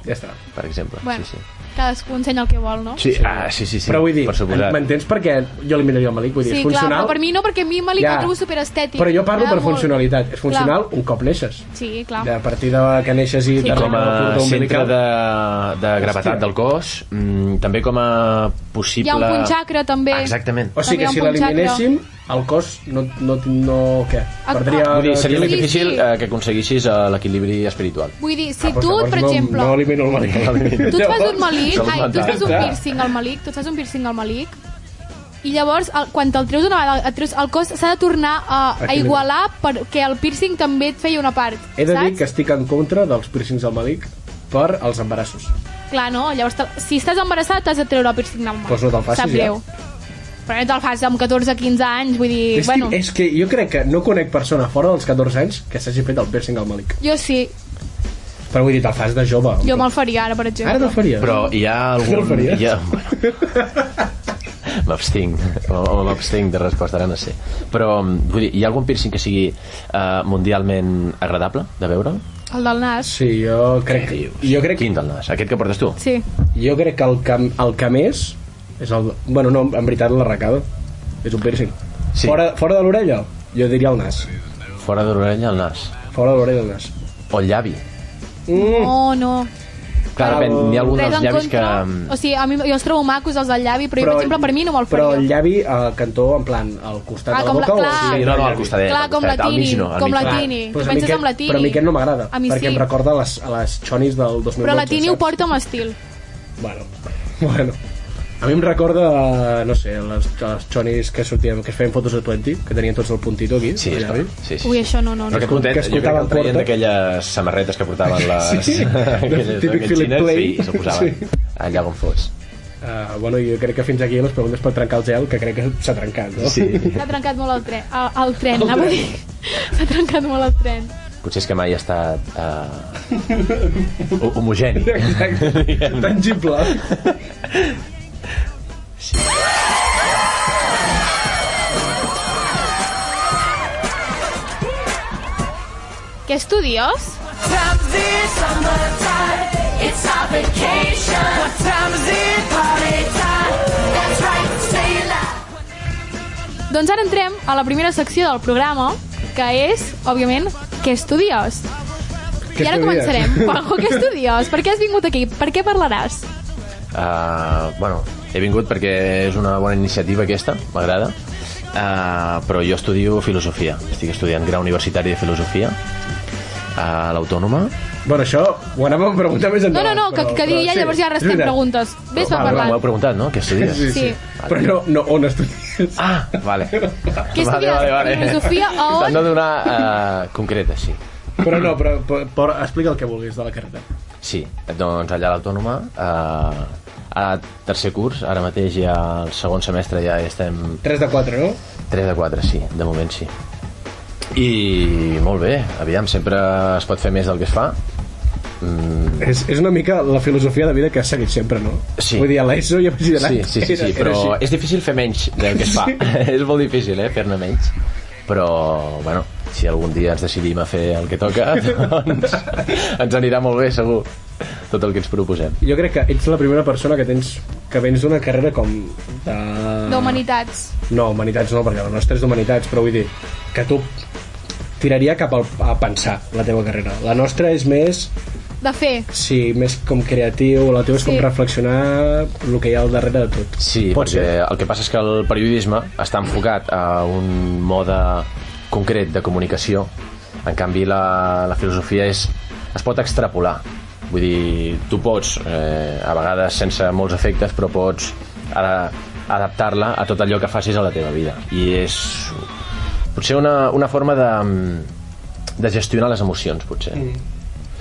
Speaker 4: Ja està.
Speaker 5: per exemple.
Speaker 3: Bueno,
Speaker 5: Sí, sí.
Speaker 3: cadascú ensenya el que vol, no?
Speaker 5: Sí, ah, sí, sí, sí.
Speaker 4: però vull dir,
Speaker 5: per suposat.
Speaker 4: m'entens perquè jo eliminaria el malic? Vull dir,
Speaker 3: Sí,
Speaker 4: és
Speaker 3: clar,
Speaker 4: funcional,
Speaker 3: però per mi no, perquè a mi el malic
Speaker 4: Ja.
Speaker 3: el trobo superestètic.
Speaker 4: però jo parlo
Speaker 3: M'agrada
Speaker 4: per
Speaker 3: molt.
Speaker 4: funcionalitat. És funcional un cop neixes.
Speaker 3: Sí, clar.
Speaker 4: De a partir de que neixes i...
Speaker 3: Sí,
Speaker 4: t'arriba
Speaker 5: com
Speaker 4: la
Speaker 5: a
Speaker 4: curta
Speaker 5: centre
Speaker 4: umbilical.
Speaker 5: de, de gravetat
Speaker 4: Hòstia.
Speaker 5: del cos, mm, també com a
Speaker 3: Hi
Speaker 5: possible...
Speaker 3: ha un punt xacre, també.
Speaker 5: Ah, exactament.
Speaker 4: O sigui
Speaker 3: També
Speaker 4: que
Speaker 3: hi ha un
Speaker 4: si
Speaker 3: punt xacre.
Speaker 4: l'eliminéssim, el cos no... no, no què?
Speaker 3: Ah,
Speaker 4: Perdria...
Speaker 5: Vull dir, seria molt
Speaker 3: Sí,
Speaker 5: difícil
Speaker 3: sí.
Speaker 5: eh, que aconseguissis eh, l'equilibri espiritual.
Speaker 3: Vull dir, si
Speaker 5: Ah,
Speaker 4: Doncs
Speaker 3: tu,
Speaker 4: llavors
Speaker 3: per
Speaker 4: no,
Speaker 3: exemple...
Speaker 4: No elimino el malic.
Speaker 3: tu et fas un malic,
Speaker 5: Salut
Speaker 3: ai, tu et fas un
Speaker 5: mental.
Speaker 3: piercing al malic, tu et fas un piercing al malic, i llavors, el, quan te'l treus una vegada, et treus, el cos s'ha de tornar a, a
Speaker 4: Equilibri.
Speaker 3: igualar perquè el piercing també et feia una part,
Speaker 4: He de dir
Speaker 3: saps?
Speaker 4: que estic en contra dels piercings al malic per als embarassos.
Speaker 3: Clar, no, llavors, te, si estàs embarassat, t'has de treure el piercing del malic.
Speaker 4: Doncs no te'l facis,
Speaker 3: Sap
Speaker 4: ja.
Speaker 3: greu. Però no te'l fas amb 14-15 anys, vull dir,
Speaker 4: És,
Speaker 3: bueno...
Speaker 4: que, és que jo crec que no conec persona fora dels 14 anys que s'hagi fet el piercing al malic.
Speaker 3: Jo sí,
Speaker 4: Però vull dir, te'l fas de jove.
Speaker 3: jo me'l faria ara, per exemple.
Speaker 4: Ara te'l faria.
Speaker 5: Però hi ha [LAUGHS]
Speaker 4: No el
Speaker 5: algun...
Speaker 4: faries?
Speaker 5: hi ha, bueno, M'abstinc. O, o m'abstinc de resposta, ara no sé. Però, mm, vull dir, hi ha algun piercing que sigui eh, mundialment agradable de veure?
Speaker 3: El del nas.
Speaker 4: Sí, jo crec... Eh, Jo crec,
Speaker 5: Quin del nas? Aquest que portes tu?
Speaker 3: Sí.
Speaker 4: jo crec que el que, el que més és el... Bueno, no, en veritat la l'arracada. És un piercing.
Speaker 5: Sí.
Speaker 4: Fora, fora de l'orella, jo diria el nas.
Speaker 5: Fora de l'orella, el nas.
Speaker 4: Fora de l'orella, el nas.
Speaker 5: O el llavi.
Speaker 4: Mm.
Speaker 3: No, Oh, no.
Speaker 5: Clar, depèn, n'hi ha algun
Speaker 3: Res
Speaker 5: dels
Speaker 3: en
Speaker 5: llavis que... mm,
Speaker 3: contra. O sigui, a mi, jo els trobo macos, els del llavi, però, però jo, per exemple, per mi no me'l
Speaker 4: Però el
Speaker 3: faria.
Speaker 4: llavi al cantó, en plan, al costat
Speaker 3: Ah,
Speaker 4: de la
Speaker 3: com la-
Speaker 4: boca o...
Speaker 3: clar.
Speaker 5: Sí, no, no, al costadet.
Speaker 3: Clar,
Speaker 5: al
Speaker 3: com la
Speaker 5: costadet, al
Speaker 3: Tini,
Speaker 5: mig no, al
Speaker 3: com
Speaker 5: mig
Speaker 3: la
Speaker 5: no.
Speaker 3: Tini.
Speaker 4: Pues a
Speaker 3: Penses
Speaker 4: mi aquest-
Speaker 3: en la Tini.
Speaker 4: Però a mi aquest no m'agrada,
Speaker 3: A mi
Speaker 4: perquè
Speaker 3: sí.
Speaker 4: em recorda les, a les xonis del 2012.
Speaker 3: Però la Tini ho
Speaker 4: saps?
Speaker 3: porta amb estil.
Speaker 4: Bueno, [LAUGHS] bueno. A mi em recorda, no sé, les, les xonis que sortien, que es feien fotos de 20, que tenien tots el puntito aquí.
Speaker 5: Sí,
Speaker 4: al
Speaker 5: és clar.
Speaker 4: llavi.
Speaker 5: Sí, sí.
Speaker 3: Ui, això no, no.
Speaker 5: Però
Speaker 3: no.
Speaker 5: aquest puntet,
Speaker 4: que
Speaker 5: jo crec que el
Speaker 4: escoltaven
Speaker 5: traien
Speaker 4: porta.
Speaker 5: d'aquelles samarretes que portaven les...
Speaker 4: Sí, del típic
Speaker 5: aquelles
Speaker 4: Philip
Speaker 5: xines,
Speaker 4: Play.
Speaker 5: Sí, i s'ho posaven
Speaker 4: Sí.
Speaker 5: allà on fos.
Speaker 4: Uh, bueno, jo crec que fins aquí les preguntes per trencar el gel, que crec que s'ha trencat, no?
Speaker 5: Sí.
Speaker 3: S'ha trencat molt el tren. El, el tren, anava a dir. [LAUGHS] S'ha trencat molt el tren.
Speaker 5: Potser és que mai ha estat eh, ho-
Speaker 4: [LAUGHS]
Speaker 5: homogeni.
Speaker 4: [LAUGHS]
Speaker 5: Eh,
Speaker 4: Exacte. Tangible.
Speaker 3: Que estudiós?
Speaker 6: time is it? Summertime, it's our vacation. What time is it? Party time. That's right, stay alive.
Speaker 3: Doncs ara entrem a la primera secció del programa, que és, òbviament, que estudiós?
Speaker 4: Què
Speaker 3: I ara
Speaker 4: estudies?
Speaker 3: començarem.
Speaker 4: [LAUGHS]
Speaker 3: Juanjo, que estudiós? Per què has vingut aquí? Per què parlaràs?
Speaker 5: Uh, bueno, he vingut perquè és una bona iniciativa aquesta, m'agrada. Uh, però jo estudio filosofia. Estic estudiant grau universitari de filosofia eh, a l'Autònoma.
Speaker 4: bueno, això ho anàvem a preguntar més
Speaker 3: No, no,
Speaker 4: endavant.
Speaker 3: no, que,
Speaker 4: però-
Speaker 3: que digui
Speaker 4: però
Speaker 3: ja,
Speaker 4: sí,
Speaker 3: llavors ja
Speaker 4: és
Speaker 3: restem
Speaker 4: veritat.
Speaker 3: preguntes. Vés per
Speaker 5: Ah,
Speaker 3: parlar.
Speaker 5: M'ho heu preguntat, no? Què estudies?
Speaker 4: Sí, sí.
Speaker 3: Sí.
Speaker 4: Però no, no, on estudies?
Speaker 5: Ah, vale.
Speaker 3: Què estudies? Filosofia a on?
Speaker 5: No donar uh, concreta, sí.
Speaker 4: Però no, però, però, però explica el que vulguis de la carrera.
Speaker 5: Sí, doncs allà a l'Autònoma, eh, a tercer curs, ara mateix ja al segon semestre ja estem
Speaker 4: 3 de 4, no?
Speaker 5: 3 de 4, sí, de moment sí. I molt bé, aviam, sempre es pot fer més del que es fa. Mm,
Speaker 4: És, és una mica la filosofia de vida que has seguit sempre, no?
Speaker 5: Sí.
Speaker 4: Vull dir, a l'ESO i a Batxillerat
Speaker 5: sí, sí, sí, sí,
Speaker 4: era- era
Speaker 5: però
Speaker 4: així.
Speaker 5: és difícil fer menys del que es fa. [LAUGHS] és molt difícil, eh, fer-ne menys. Però, bueno, si algun dia ens decidim a fer el que toca, [LAUGHS] doncs ens anirà molt bé, segur, tot el que ens proposem.
Speaker 4: Jo crec que ets la primera persona que tens que vens d'una carrera com de...
Speaker 3: D'humanitats.
Speaker 4: No, humanitats no, perquè la nostra és d'humanitats, però vull dir que tu tiraria cap al, a pensar la teva carrera. La nostra és més,
Speaker 3: De fer.
Speaker 4: sí, més com creatiu, la teva és sí.
Speaker 3: Sí.
Speaker 4: com reflexionar el que hi ha al darrere de tot.
Speaker 5: Sí,
Speaker 4: Pot
Speaker 5: perquè
Speaker 4: ser.
Speaker 5: el que passa és que el periodisme està enfocat a un mode concret de comunicació. En canvi, la, la filosofia és, es pot extrapolar. Vull dir, tu pots, eh, a vegades sense molts efectes, però pots ara, adaptar-la a tot allò que facis a la teva vida. I és potser una, una forma de, de gestionar les emocions, potser.
Speaker 4: Mm.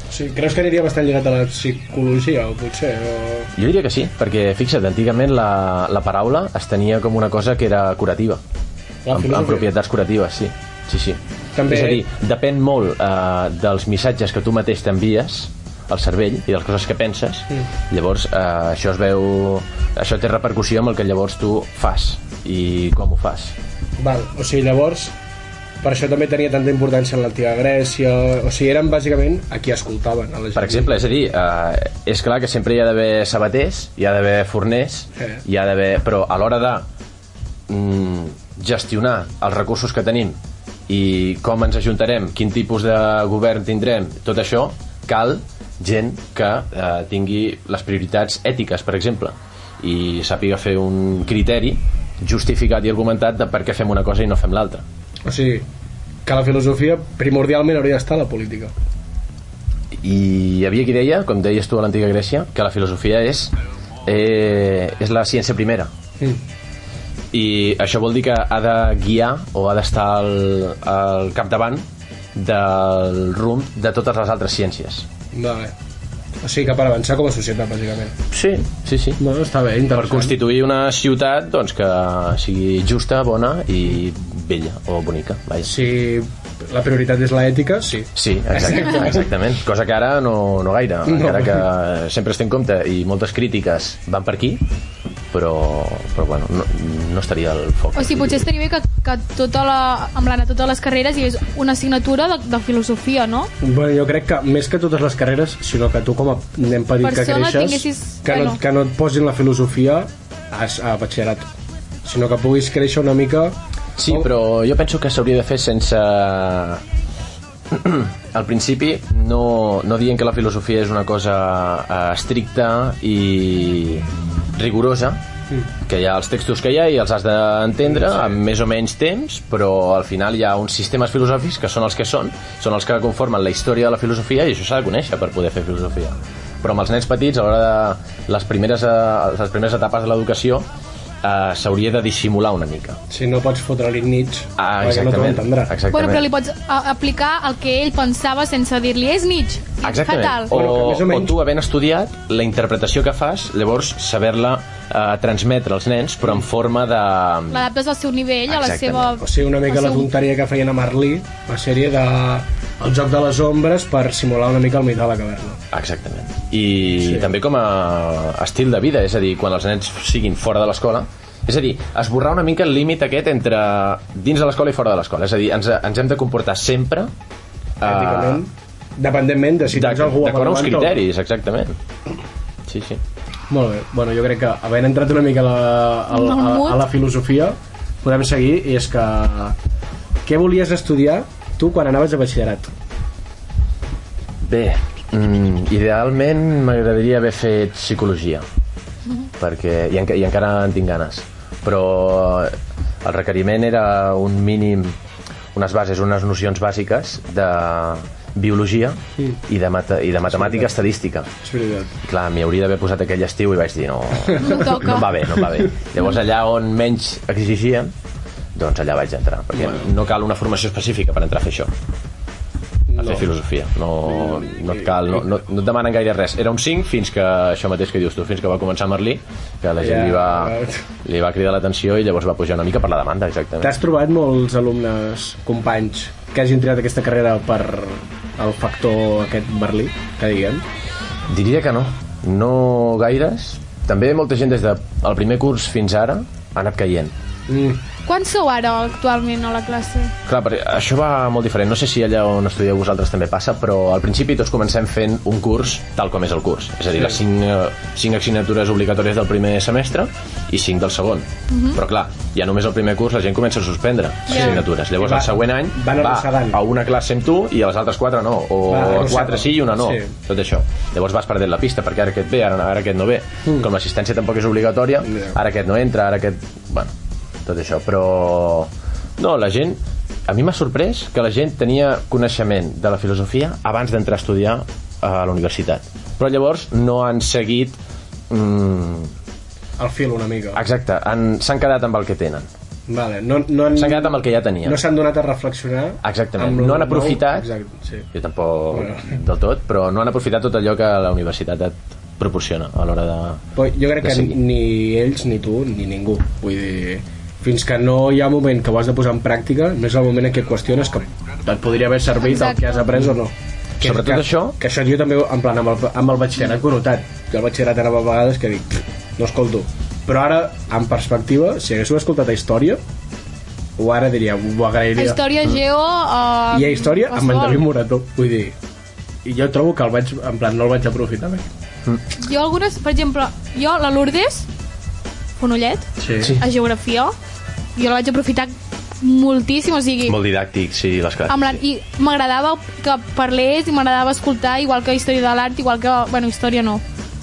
Speaker 4: Sí, creus que aniria bastant lligat a la psicologia, o potser? O...
Speaker 5: Jo diria que sí, perquè fixa't, antigament la, la paraula es tenia com una cosa que era curativa.
Speaker 4: La
Speaker 5: Amb,
Speaker 4: filosofia.
Speaker 5: amb propietats curatives, sí. Sí, sí.
Speaker 4: També-
Speaker 5: És a dir, depèn molt eh, dels missatges que tu mateix t'envies al cervell i de les coses que penses. Mm. Llavors, eh, això es veu... Això té repercussió amb el que llavors tu fas i com ho fas.
Speaker 4: Val, o sigui, llavors, per això també tenia tanta importància en l'antiga Grècia, o sigui, eren bàsicament a qui escoltaven. A la gent.
Speaker 5: Per exemple, és a dir, eh, és clar que sempre hi ha d'haver sabaters, hi ha d'haver forners,
Speaker 4: Eh.
Speaker 5: hi ha d'haver... Però a l'hora de mm, gestionar els recursos que tenim i com ens ajuntarem, quin tipus de govern tindrem, tot això, cal gent que eh, tingui les prioritats ètiques, per exemple, i sàpiga fer un criteri justificat i argumentat de per què fem una cosa i no fem l'altra.
Speaker 4: O sigui, que la filosofia primordialment hauria d'estar a la política.
Speaker 5: I hi havia qui deia, com deies tu a l'antiga Grècia, que la filosofia és, eh, és la ciència primera.
Speaker 4: Mm.
Speaker 5: I això vol dir que ha de guiar o ha d'estar al, al capdavant del rumb de totes les altres ciències.
Speaker 4: Vale. O sigui, que per avançar com a societat, bàsicament.
Speaker 5: Sí, sí, sí.
Speaker 4: No, està bé,
Speaker 5: Per constituir una ciutat doncs, que sigui justa, bona i vella o bonica. Vaja.
Speaker 4: Si la prioritat és l'ètica, sí.
Speaker 5: Sí, exacte, exactament. Cosa que ara no, no gaire, no. encara que sempre es té en compte i moltes crítiques van per aquí, però, però bueno, no, no estaria al foc.
Speaker 3: O sigui, potser estaria bé que, que tota la, en plan, a totes les carreres hi hagués una assignatura de, de filosofia, no?
Speaker 4: Bueno, jo crec que més que totes les carreres, sinó que tu com a nen petit que
Speaker 3: Persona
Speaker 4: creixes,
Speaker 3: tinguessis-
Speaker 4: que, no,
Speaker 3: bueno.
Speaker 4: et- que no et posin la filosofia a, a batxillerat, sinó que puguis créixer una mica...
Speaker 5: Sí,
Speaker 4: o-
Speaker 5: però jo penso que s'hauria de fer sense... Al principi, no, no dient que la filosofia és una cosa eh, estricta i rigorosa, que hi ha els textos que hi ha i els has d'entendre amb més o menys temps, però al final hi ha uns sistemes filosòfics que són els que són, són els que conformen la història de la filosofia i això s'ha de conèixer per poder fer filosofia. Però amb els nens petits, a l'hora de les primeres, eh, les primeres etapes de l'educació, eh, s'hauria de dissimular una mica.
Speaker 4: Si no pots fotre-li nits, perquè no
Speaker 5: Ah,
Speaker 4: te
Speaker 5: exactament.
Speaker 4: l'entendrà.
Speaker 5: exactament.
Speaker 3: Bueno, però li pots a, aplicar el que ell pensava sense dir-li és Nietzsche,
Speaker 5: Exactament.
Speaker 3: fatal.
Speaker 5: O,
Speaker 4: Bueno, que més o
Speaker 5: o
Speaker 4: menys-
Speaker 5: tu, havent estudiat, la interpretació que fas, llavors saber-la eh, transmetre als nens, però en forma de...
Speaker 3: L'adaptes al seu nivell, a la seva...
Speaker 5: Exactament.
Speaker 4: O sigui, una mica
Speaker 3: al
Speaker 4: la
Speaker 3: seu-
Speaker 4: tonteria que feien a Marlí, la sèrie de... El joc de les ombres per simular una mica el mitjà de la caverna.
Speaker 5: Exactament. I sí. també com a estil de vida, és a dir, quan els nens siguin fora de l'escola, és a dir, esborrar una mica el límit aquest entre dins de l'escola i fora de l'escola. És a dir, ens, ens hem de comportar sempre... eh,
Speaker 4: Èticament, dependentment de si tens algú a
Speaker 5: Ah. D'acord amb uns
Speaker 4: davant o-
Speaker 5: criteris, exactament. Sí, sí.
Speaker 4: Molt bé, bueno, jo crec que havent entrat una mica a la, a, la- a, a la filosofia podem seguir i és que què volies estudiar tu quan anaves a batxillerat?
Speaker 5: Bé, mm, idealment m'agradaria haver fet psicologia, perquè, i, enca i encara en tinc ganes, però eh, el requeriment era un mínim, unes bases, unes nocions bàsiques de biologia
Speaker 4: Sí.
Speaker 5: i de, mata i de matemàtica estadística.
Speaker 4: És veritat.
Speaker 5: I clar, m'hi hauria d'haver posat aquell estiu i vaig dir no,
Speaker 3: No [LAUGHS] toca.
Speaker 5: no em va bé, no em va bé. Llavors allà on menys exigien, doncs allà vaig entrar, perquè bueno. no cal una formació específica per entrar a fer això a fer filosofia. No, no et cal, no, no, no et demanen gaire res. Era un 5 fins que, això mateix que dius tu, fins que va començar Merlí, que la gent
Speaker 4: Ja.
Speaker 5: li va, li va cridar l'atenció i llavors va pujar una mica per la demanda, exactament.
Speaker 4: T'has trobat molts alumnes, companys, que hagin triat aquesta carrera per el factor aquest Berlí, que diguem?
Speaker 5: Diria que no. No gaires. També molta gent des del el primer curs fins ara ha anat caient.
Speaker 4: Mm.
Speaker 3: Quants sou ara actualment a la classe?
Speaker 5: Clar, perquè això va molt diferent. No sé si allà on estudieu vosaltres també passa, però al principi tots comencem fent un curs tal com és el curs. És a dir, sí. les 5, 5 assignatures obligatòries del primer semestre i 5 del segon.
Speaker 4: Mhm.
Speaker 5: Però clar, ja només el primer curs la gent comença a suspendre
Speaker 3: Ja.
Speaker 5: assignatures. Llavors
Speaker 4: I va-
Speaker 5: el següent any
Speaker 4: van
Speaker 5: va
Speaker 4: arrossegant.
Speaker 5: a una classe amb tu i a les altres 4 no. O
Speaker 4: Va, arrossegant.
Speaker 5: 4 sí i una no.
Speaker 4: Sí.
Speaker 5: Tot això. Llavors vas perdent la pista perquè ara aquest ve, ara, ara aquest no ve.
Speaker 4: Mm.
Speaker 5: Com l'assistència tampoc és obligatòria,
Speaker 4: Ja.
Speaker 5: ara aquest no entra, ara aquest... Bueno, tot això, però... No, la gent... A mi m'ha sorprès que la gent tenia coneixement de la filosofia abans d'entrar a estudiar eh, a la universitat. Però llavors no han seguit... Mm,
Speaker 4: El fil una mica.
Speaker 5: exacte, han- s'han quedat amb el que tenen.
Speaker 4: Vale. No, no han,
Speaker 5: S'han quedat amb el que ja tenien.
Speaker 4: no s'han donat a reflexionar.
Speaker 5: Exactament.
Speaker 4: amb lo
Speaker 5: No han
Speaker 4: nou.
Speaker 5: aprofitat.
Speaker 4: Exacte, sí.
Speaker 5: Jo tampoc
Speaker 4: Bueno.
Speaker 5: del tot, però no han aprofitat tot allò que la universitat et proporciona a l'hora de...
Speaker 4: Però jo crec
Speaker 5: de
Speaker 4: que
Speaker 5: seguir.
Speaker 4: ni ells, ni tu, ni ningú. Vull dir, fins que no hi ha un moment que ho has de posar en pràctica, no és el moment en què et qüestiones que et podria haver servit Exacte. el
Speaker 3: Exacte.
Speaker 4: que has après o no. Que,
Speaker 5: Sobretot
Speaker 4: que,
Speaker 5: això-
Speaker 4: Que això jo també, en plan, amb el, amb el batxillerat he notat. Jo el batxillerat anava a vegades que dic, "Pff, no escolto. Però ara, en perspectiva, si haguéssiu escoltat a Història, o ara diria, ho
Speaker 3: A
Speaker 4: agrairia.
Speaker 3: història,
Speaker 5: Mm.
Speaker 3: geo... Uh,
Speaker 4: I a Història, amb en
Speaker 3: qualsevol.
Speaker 4: David Morató. Vull dir, i jo trobo que el vaig, en plan, no el vaig aprofitar eh? bé.
Speaker 3: Jo algunes, per exemple, jo la Lourdes, Fonollet,
Speaker 4: Sí.
Speaker 3: a geografia, jo la vaig aprofitar moltíssim, o sigui...
Speaker 5: Molt didàctic, sí, les classes.
Speaker 3: Amb la, I m'agradava que parlés i m'agradava escoltar, igual que Història de l'Art, igual que... Bueno, Història no,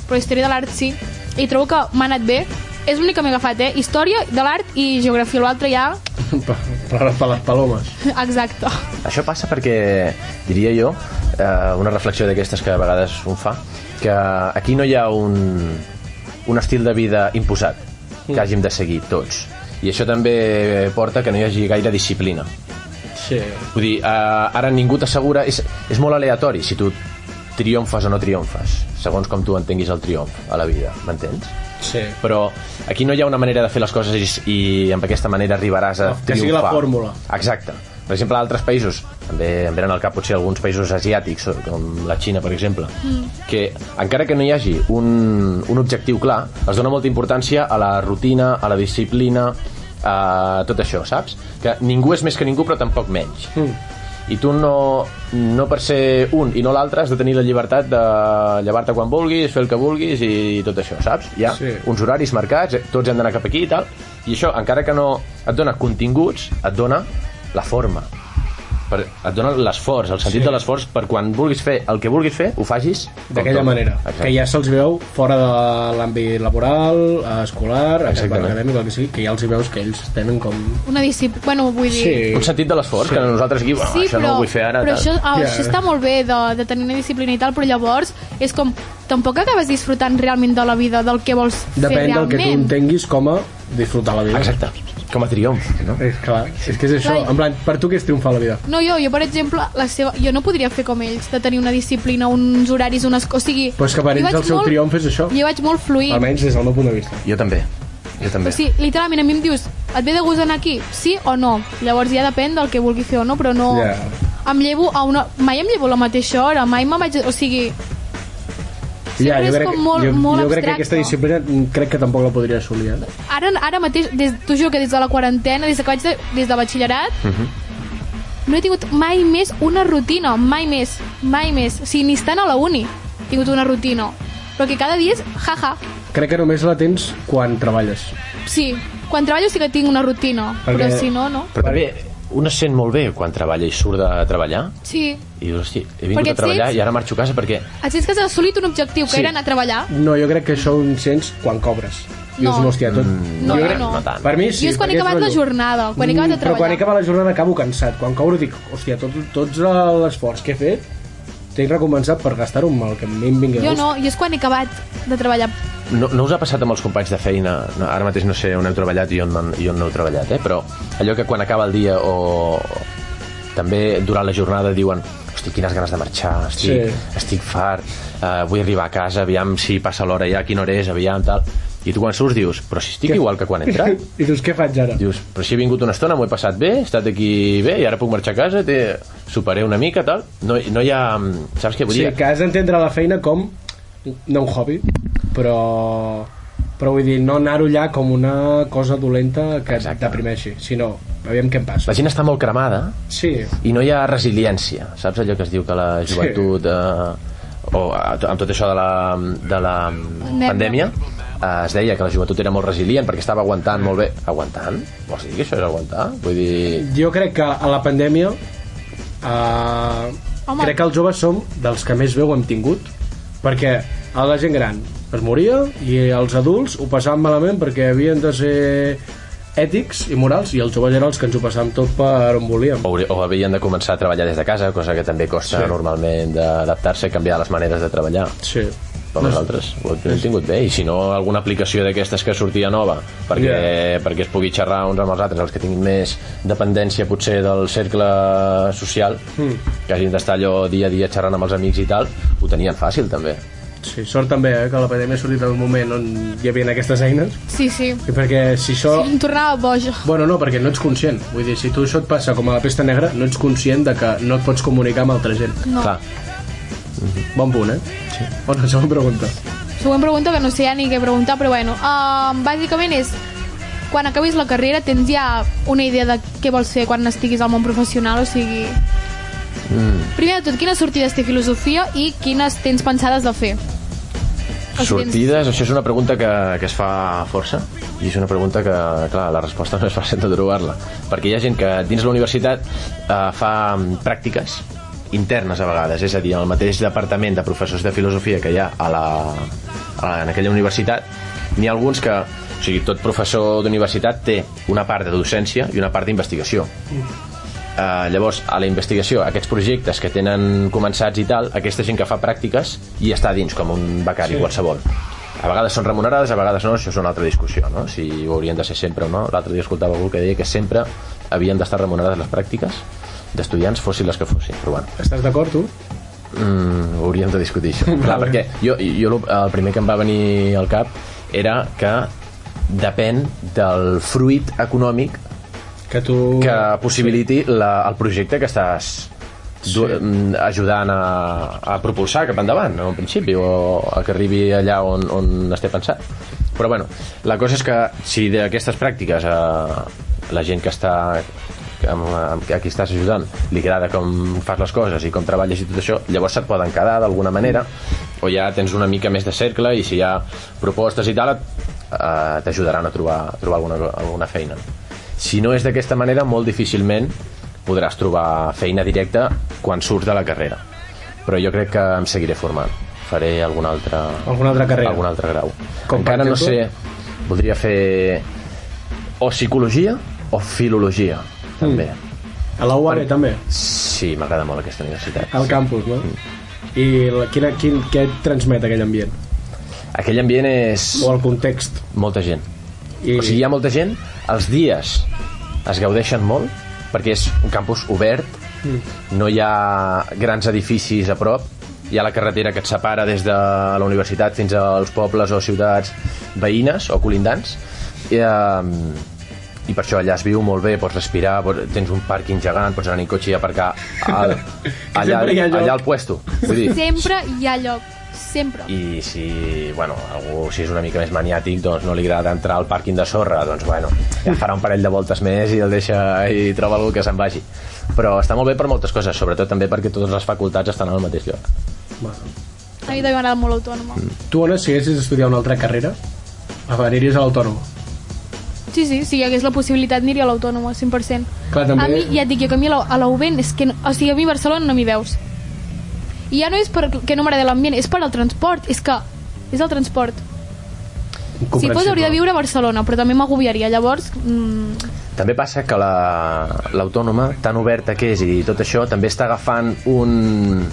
Speaker 3: però Història de l'Art sí. I trobo que m'ha anat bé. És l'únic que m'he agafat, eh? Història de l'Art i Geografia. L'altre ja...
Speaker 4: [LAUGHS]
Speaker 3: [LAUGHS]
Speaker 4: Per, per, per les palomes.
Speaker 3: Exacte.
Speaker 5: Això passa perquè, diria jo, eh, una reflexió d'aquestes que a vegades un fa, que aquí no hi ha un, un estil de vida imposat que hàgim de seguir tots. I això també porta que no hi hagi gaire disciplina.
Speaker 4: Sí.
Speaker 5: Vull dir, eh, ara ningú t'assegura... És, és molt aleatori si tu triomfes o no triomfes, segons com tu entenguis el triomf a la vida, m'entens?
Speaker 4: Sí.
Speaker 5: Però aquí no hi ha una manera de fer les coses i, i amb aquesta manera arribaràs a
Speaker 4: Que
Speaker 5: triomfar.
Speaker 4: sigui la fórmula.
Speaker 5: Exacte. Per exemple, altres països, també em venen al cap potser alguns països asiàtics, com la Xina, per exemple, que encara que no hi hagi un, un objectiu clar, es dona molta importància a la rutina, a la disciplina, a tot això, saps? Que ningú és més que ningú, però tampoc menys.
Speaker 4: Mm.
Speaker 5: I tu no, no per ser un i no l'altre has de tenir la llibertat de llevar-te quan vulguis, fer el que vulguis i tot això, saps? Hi ha
Speaker 4: Sí.
Speaker 5: uns horaris marcats, eh, tots hem d'anar cap aquí i tal, i això, encara que no et dona continguts, et dona la forma. Per, et dona l'esforç, el sentit sí. de l'esforç per quan vulguis fer el que vulguis fer, ho facis com
Speaker 4: d'aquella
Speaker 5: toca.
Speaker 4: manera,
Speaker 5: Exacte.
Speaker 4: que ja se'ls veu fora de l'àmbit laboral, escolar,
Speaker 5: Exactament.
Speaker 4: acadèmic, el que sigui, que ja els hi veus que ells tenen com...
Speaker 3: Una disciplina... Bueno, vull dir...
Speaker 4: Sí.
Speaker 5: Un sentit de l'esforç,
Speaker 4: Sí.
Speaker 5: sí. que nosaltres aquí, bueno,
Speaker 3: sí,
Speaker 5: això
Speaker 3: però,
Speaker 5: no ho vull fer ara,
Speaker 3: però això,
Speaker 5: tal.
Speaker 3: ah,
Speaker 4: Ja.
Speaker 3: això està molt bé de, de tenir una disciplina i tal, però llavors és com, tampoc acabes disfrutant realment de la vida, del que vols fer
Speaker 4: Depèn del
Speaker 3: realment.
Speaker 4: que tu entenguis com a disfrutar la vida.
Speaker 5: Exacte, com a triomf, no?
Speaker 4: És clar, és que és això.
Speaker 3: Clar.
Speaker 4: En plan, per tu què és triomfar la vida?
Speaker 3: No, jo, jo per exemple, la seva... jo no podria fer com ells, de tenir una disciplina, uns horaris, unes... O sigui...
Speaker 4: Però és que per
Speaker 3: jo
Speaker 4: ells
Speaker 3: vaig
Speaker 4: el seu
Speaker 3: molt-
Speaker 4: triomf és això.
Speaker 3: Jo vaig molt fluir.
Speaker 4: Almenys des del meu punt de vista.
Speaker 5: Jo també, jo també.
Speaker 3: O sigui, literalment, a mi em dius, et ve de gust anar aquí? Sí o no? Llavors ja depèn del que vulgui fer o no, però no...
Speaker 4: Ja.
Speaker 3: Em llevo a una... Mai em llevo a la mateixa hora, mai me vaig... O sigui,
Speaker 4: ja,
Speaker 3: és
Speaker 4: jo crec,
Speaker 3: com molt-
Speaker 4: jo,
Speaker 3: molt
Speaker 4: jo crec que
Speaker 3: abstracte.
Speaker 4: aquesta disciplina mm, crec que tampoc la podria assolir. Eh?
Speaker 3: ara, ara mateix, des, t'ho juro que des de la quarantena, des de que vaig de, des de batxillerat, uh
Speaker 4: Mhm.
Speaker 3: -huh. no he tingut mai més una rutina, mai més, mai més. O sigui, ni estant a la uni he tingut una rutina. Però que cada dia és jaja.
Speaker 4: Crec que només la tens quan treballes.
Speaker 3: Sí, quan treballo sí que tinc una rutina,
Speaker 4: Perquè-
Speaker 3: però si no, no.
Speaker 5: Però també un es sent molt bé quan treballa i surt de treballar
Speaker 3: Sí.
Speaker 5: i dius, hosti, he vingut
Speaker 3: Perquè
Speaker 5: a treballar
Speaker 3: ets-
Speaker 5: i ara marxo a casa perquè...
Speaker 3: Et sents que has assolit un objectiu, que
Speaker 5: Sí.
Speaker 3: era anar a treballar.
Speaker 4: No, jo crec que això ho sents quan cobres. Dius,
Speaker 3: No.
Speaker 4: no, hòstia, tot...
Speaker 3: No,
Speaker 4: jo
Speaker 3: no,
Speaker 4: crec...
Speaker 3: Ah, no.
Speaker 5: tant.
Speaker 4: Per mi sí.
Speaker 3: Jo és quan he
Speaker 4: perquè
Speaker 3: acabat la
Speaker 4: rotllo.
Speaker 3: jornada, quan he acabat de
Speaker 4: Mm, Però quan he
Speaker 3: treballar.
Speaker 4: acabat la jornada acabo cansat. Quan cobro dic, hòstia, tot, tots l'esforç que he fet tinc recompensat per gastar-ho amb el que a mi em vingui de
Speaker 3: Jo
Speaker 4: gust.
Speaker 3: no, jo és quan he acabat de treballar.
Speaker 5: No, no us ha passat amb els companys de feina, no, ara mateix no sé on heu treballat i on, i on no heu treballat, eh? però allò que quan acaba el dia o també durant la jornada diuen hosti, quines ganes de marxar, estic,
Speaker 4: Sí.
Speaker 5: sí. estic fart, uh, vull arribar a casa, aviam si passa l'hora ja, quina hora és, aviam, tal. I tu quan surts dius, però si estic
Speaker 4: Què?
Speaker 5: igual que quan he entrat.
Speaker 4: [LAUGHS] I dius, què faig ara?
Speaker 5: Dius, però si he vingut una estona, m'ho he passat bé, he estat aquí bé i ara puc marxar a casa, té... superé una mica, tal. No, no hi ha... Saps què
Speaker 4: O
Speaker 5: vull
Speaker 4: sigui,
Speaker 5: dir?
Speaker 4: que has d'entendre la feina com no un hobby, però però vull dir, no anar-ho allà com una cosa dolenta que et
Speaker 5: Exacte.
Speaker 4: deprimeixi, sinó, aviam què em passa.
Speaker 5: La gent està molt cremada
Speaker 4: Sí,
Speaker 5: i no hi ha resiliència. Saps allò que es diu que la
Speaker 4: Sí.
Speaker 5: joventut... Eh, o eh, to- amb tot això de la, de la pandèmia eh, es deia que la joventut era molt resilient perquè estava aguantant molt bé. Aguantant? Vols dir que això és aguantar? Vull dir...
Speaker 4: jo crec que a la pandèmia eh,
Speaker 3: Home.
Speaker 4: crec que els joves som dels que més veu hem tingut, perquè a la gent gran es moria i els adults ho passaven malament perquè havien de ser ètics i morals i els joves eren els que ens ho passàvem tot per on volíem.
Speaker 5: O, hauri- o havien de començar a treballar des de casa, cosa que també costa
Speaker 4: Sí.
Speaker 5: sí. normalment d'adaptar-se i canviar les maneres de treballar.
Speaker 4: Sí.
Speaker 5: per nosaltres ho hem tingut bé i si no alguna aplicació d'aquestes que sortia nova perquè, yeah. perquè es pugui xerrar uns amb els altres els que tinguin més dependència potser del cercle social mm. que hagin d'estar allò dia a dia xerrant amb els amics i tal ho tenien fàcil també
Speaker 4: Sí, sort també eh, que la pandèmia ha sortit en un moment on hi havia aquestes eines
Speaker 3: Sí, sí.
Speaker 4: i perquè si això...
Speaker 3: Em tornava boja.
Speaker 4: Bueno, no, perquè no ets conscient. Vull dir, si tu això et passa com a la pesta negra, no ets conscient de que no et pots comunicar amb altra gent.
Speaker 3: No.
Speaker 5: clar,
Speaker 4: Bon punt, eh? Sí. Bona segona pregunta.
Speaker 3: Següent pregunta que no sé ja ni què preguntar, però bueno, um, bàsicament és quan acabis la carrera tens ja una idea de què vols fer quan estiguis al món professional, o sigui... Mm. Primer de tot, quines sortides té filosofia i quines tens pensades de fer? O sigui, tens-
Speaker 5: sortides, això és una pregunta que, que es fa força i és una pregunta que, clar, la resposta no és fàcil de trobar-la perquè hi ha gent que dins la universitat eh, fa mm, pràctiques internes a vegades, és a dir, en el mateix departament de professors de filosofia que hi ha a la, a, en aquella universitat n'hi ha alguns que, o sigui, tot professor d'universitat té una part de docència i una part d'investigació Eh, llavors, a la investigació, aquests projectes que tenen començats i tal, aquesta gent que fa pràctiques i està a dins, com un becari sí. qualsevol. A vegades són remunerades, a vegades no, això és una altra discussió, no? si ho haurien de ser sempre o no. L'altre dia escoltava algú que deia que sempre havien d'estar remunerades les pràctiques d'estudiants, fossin les que fossin. Però bueno,
Speaker 4: Estàs d'acord, tu?
Speaker 5: Mm, ho hauríem de discutir això. Clar,
Speaker 4: Vale.
Speaker 5: perquè jo, jo lo- el primer que em va venir al cap era que depèn del fruit econòmic
Speaker 4: Que tu...
Speaker 5: que possibiliti la, el projecte que estàs du- mm, ajudant a, a propulsar cap endavant, no? en principi, o a que arribi allà on, on es té pensat. Però bueno, la cosa és que si d'aquestes pràctiques a la gent que està amb, amb, a qui estàs ajudant li agrada com fas les coses i com treballes i tot això, llavors se't poden quedar d'alguna manera o ja tens una mica més de cercle i si hi ha propostes i tal et- eh, t'ajudaran a trobar, a trobar alguna, alguna feina si no és d'aquesta manera, molt difícilment podràs trobar feina directa quan surts de la carrera. Però jo crec que em seguiré formant. Faré alguna altra...
Speaker 4: Alguna altra carrera.
Speaker 5: Algun altre grau.
Speaker 4: Com, per
Speaker 5: Encara no sé...
Speaker 4: exemple?
Speaker 5: Voldria fer o psicologia o filologia,
Speaker 4: Mm.
Speaker 5: també.
Speaker 4: A la UAB també,
Speaker 5: Sí, m'agrada molt aquesta universitat.
Speaker 4: al campus, no?
Speaker 5: Mm.
Speaker 4: I la, quina, quin, què et transmet aquell ambient?
Speaker 5: Aquell ambient és
Speaker 4: O el context?
Speaker 5: molta gent.
Speaker 4: I-
Speaker 5: I... O sigui, hi ha molta gent, els dies es gaudeixen molt, perquè és un campus obert, mm. no hi ha grans edificis a prop, hi ha la carretera que et separa des de la universitat fins als pobles o ciutats veïnes o colindants, i, eh, i per això allà es viu molt bé, pots respirar, pots, tens un pàrquing gegant, pots anar en cotxe i aparcar
Speaker 4: [LAUGHS]
Speaker 5: al, allà,
Speaker 4: sempre hi ha lloc.
Speaker 5: allà al puesto. Vull dir,
Speaker 3: Sempre hi ha lloc. Sempre.
Speaker 5: i si, bueno, algú si és una mica més maniàtic, doncs no li agrada entrar al pàrquing de sorra, doncs bueno, ja farà un parell de voltes més i el deixa i troba algú que se'n vagi. Però està molt bé per moltes coses, sobretot també perquè totes les facultats estan al mateix lloc.
Speaker 3: A mi també m'agrada molt l'autònoma.
Speaker 4: Tu, Ona, si haguessis d'estudiar una altra carrera, aniries a l'autònom.
Speaker 3: Sí, sí, si hi hagués la possibilitat aniria a l'autònoma, 100%.
Speaker 4: Clar, també-
Speaker 3: A mi, ja et dic jo, que a mi a la- a la UB és que... No, o sigui, a mi a Barcelona no m'hi veus. I ja no és perquè no m'agrada l'ambient, és per al transport, és que... És el transport. Si fos hauria de viure a Barcelona, però també m'agobiaria. Llavors, mm,
Speaker 5: També passa que la- l'autònoma, la, tan oberta que és i tot això, també està agafant un,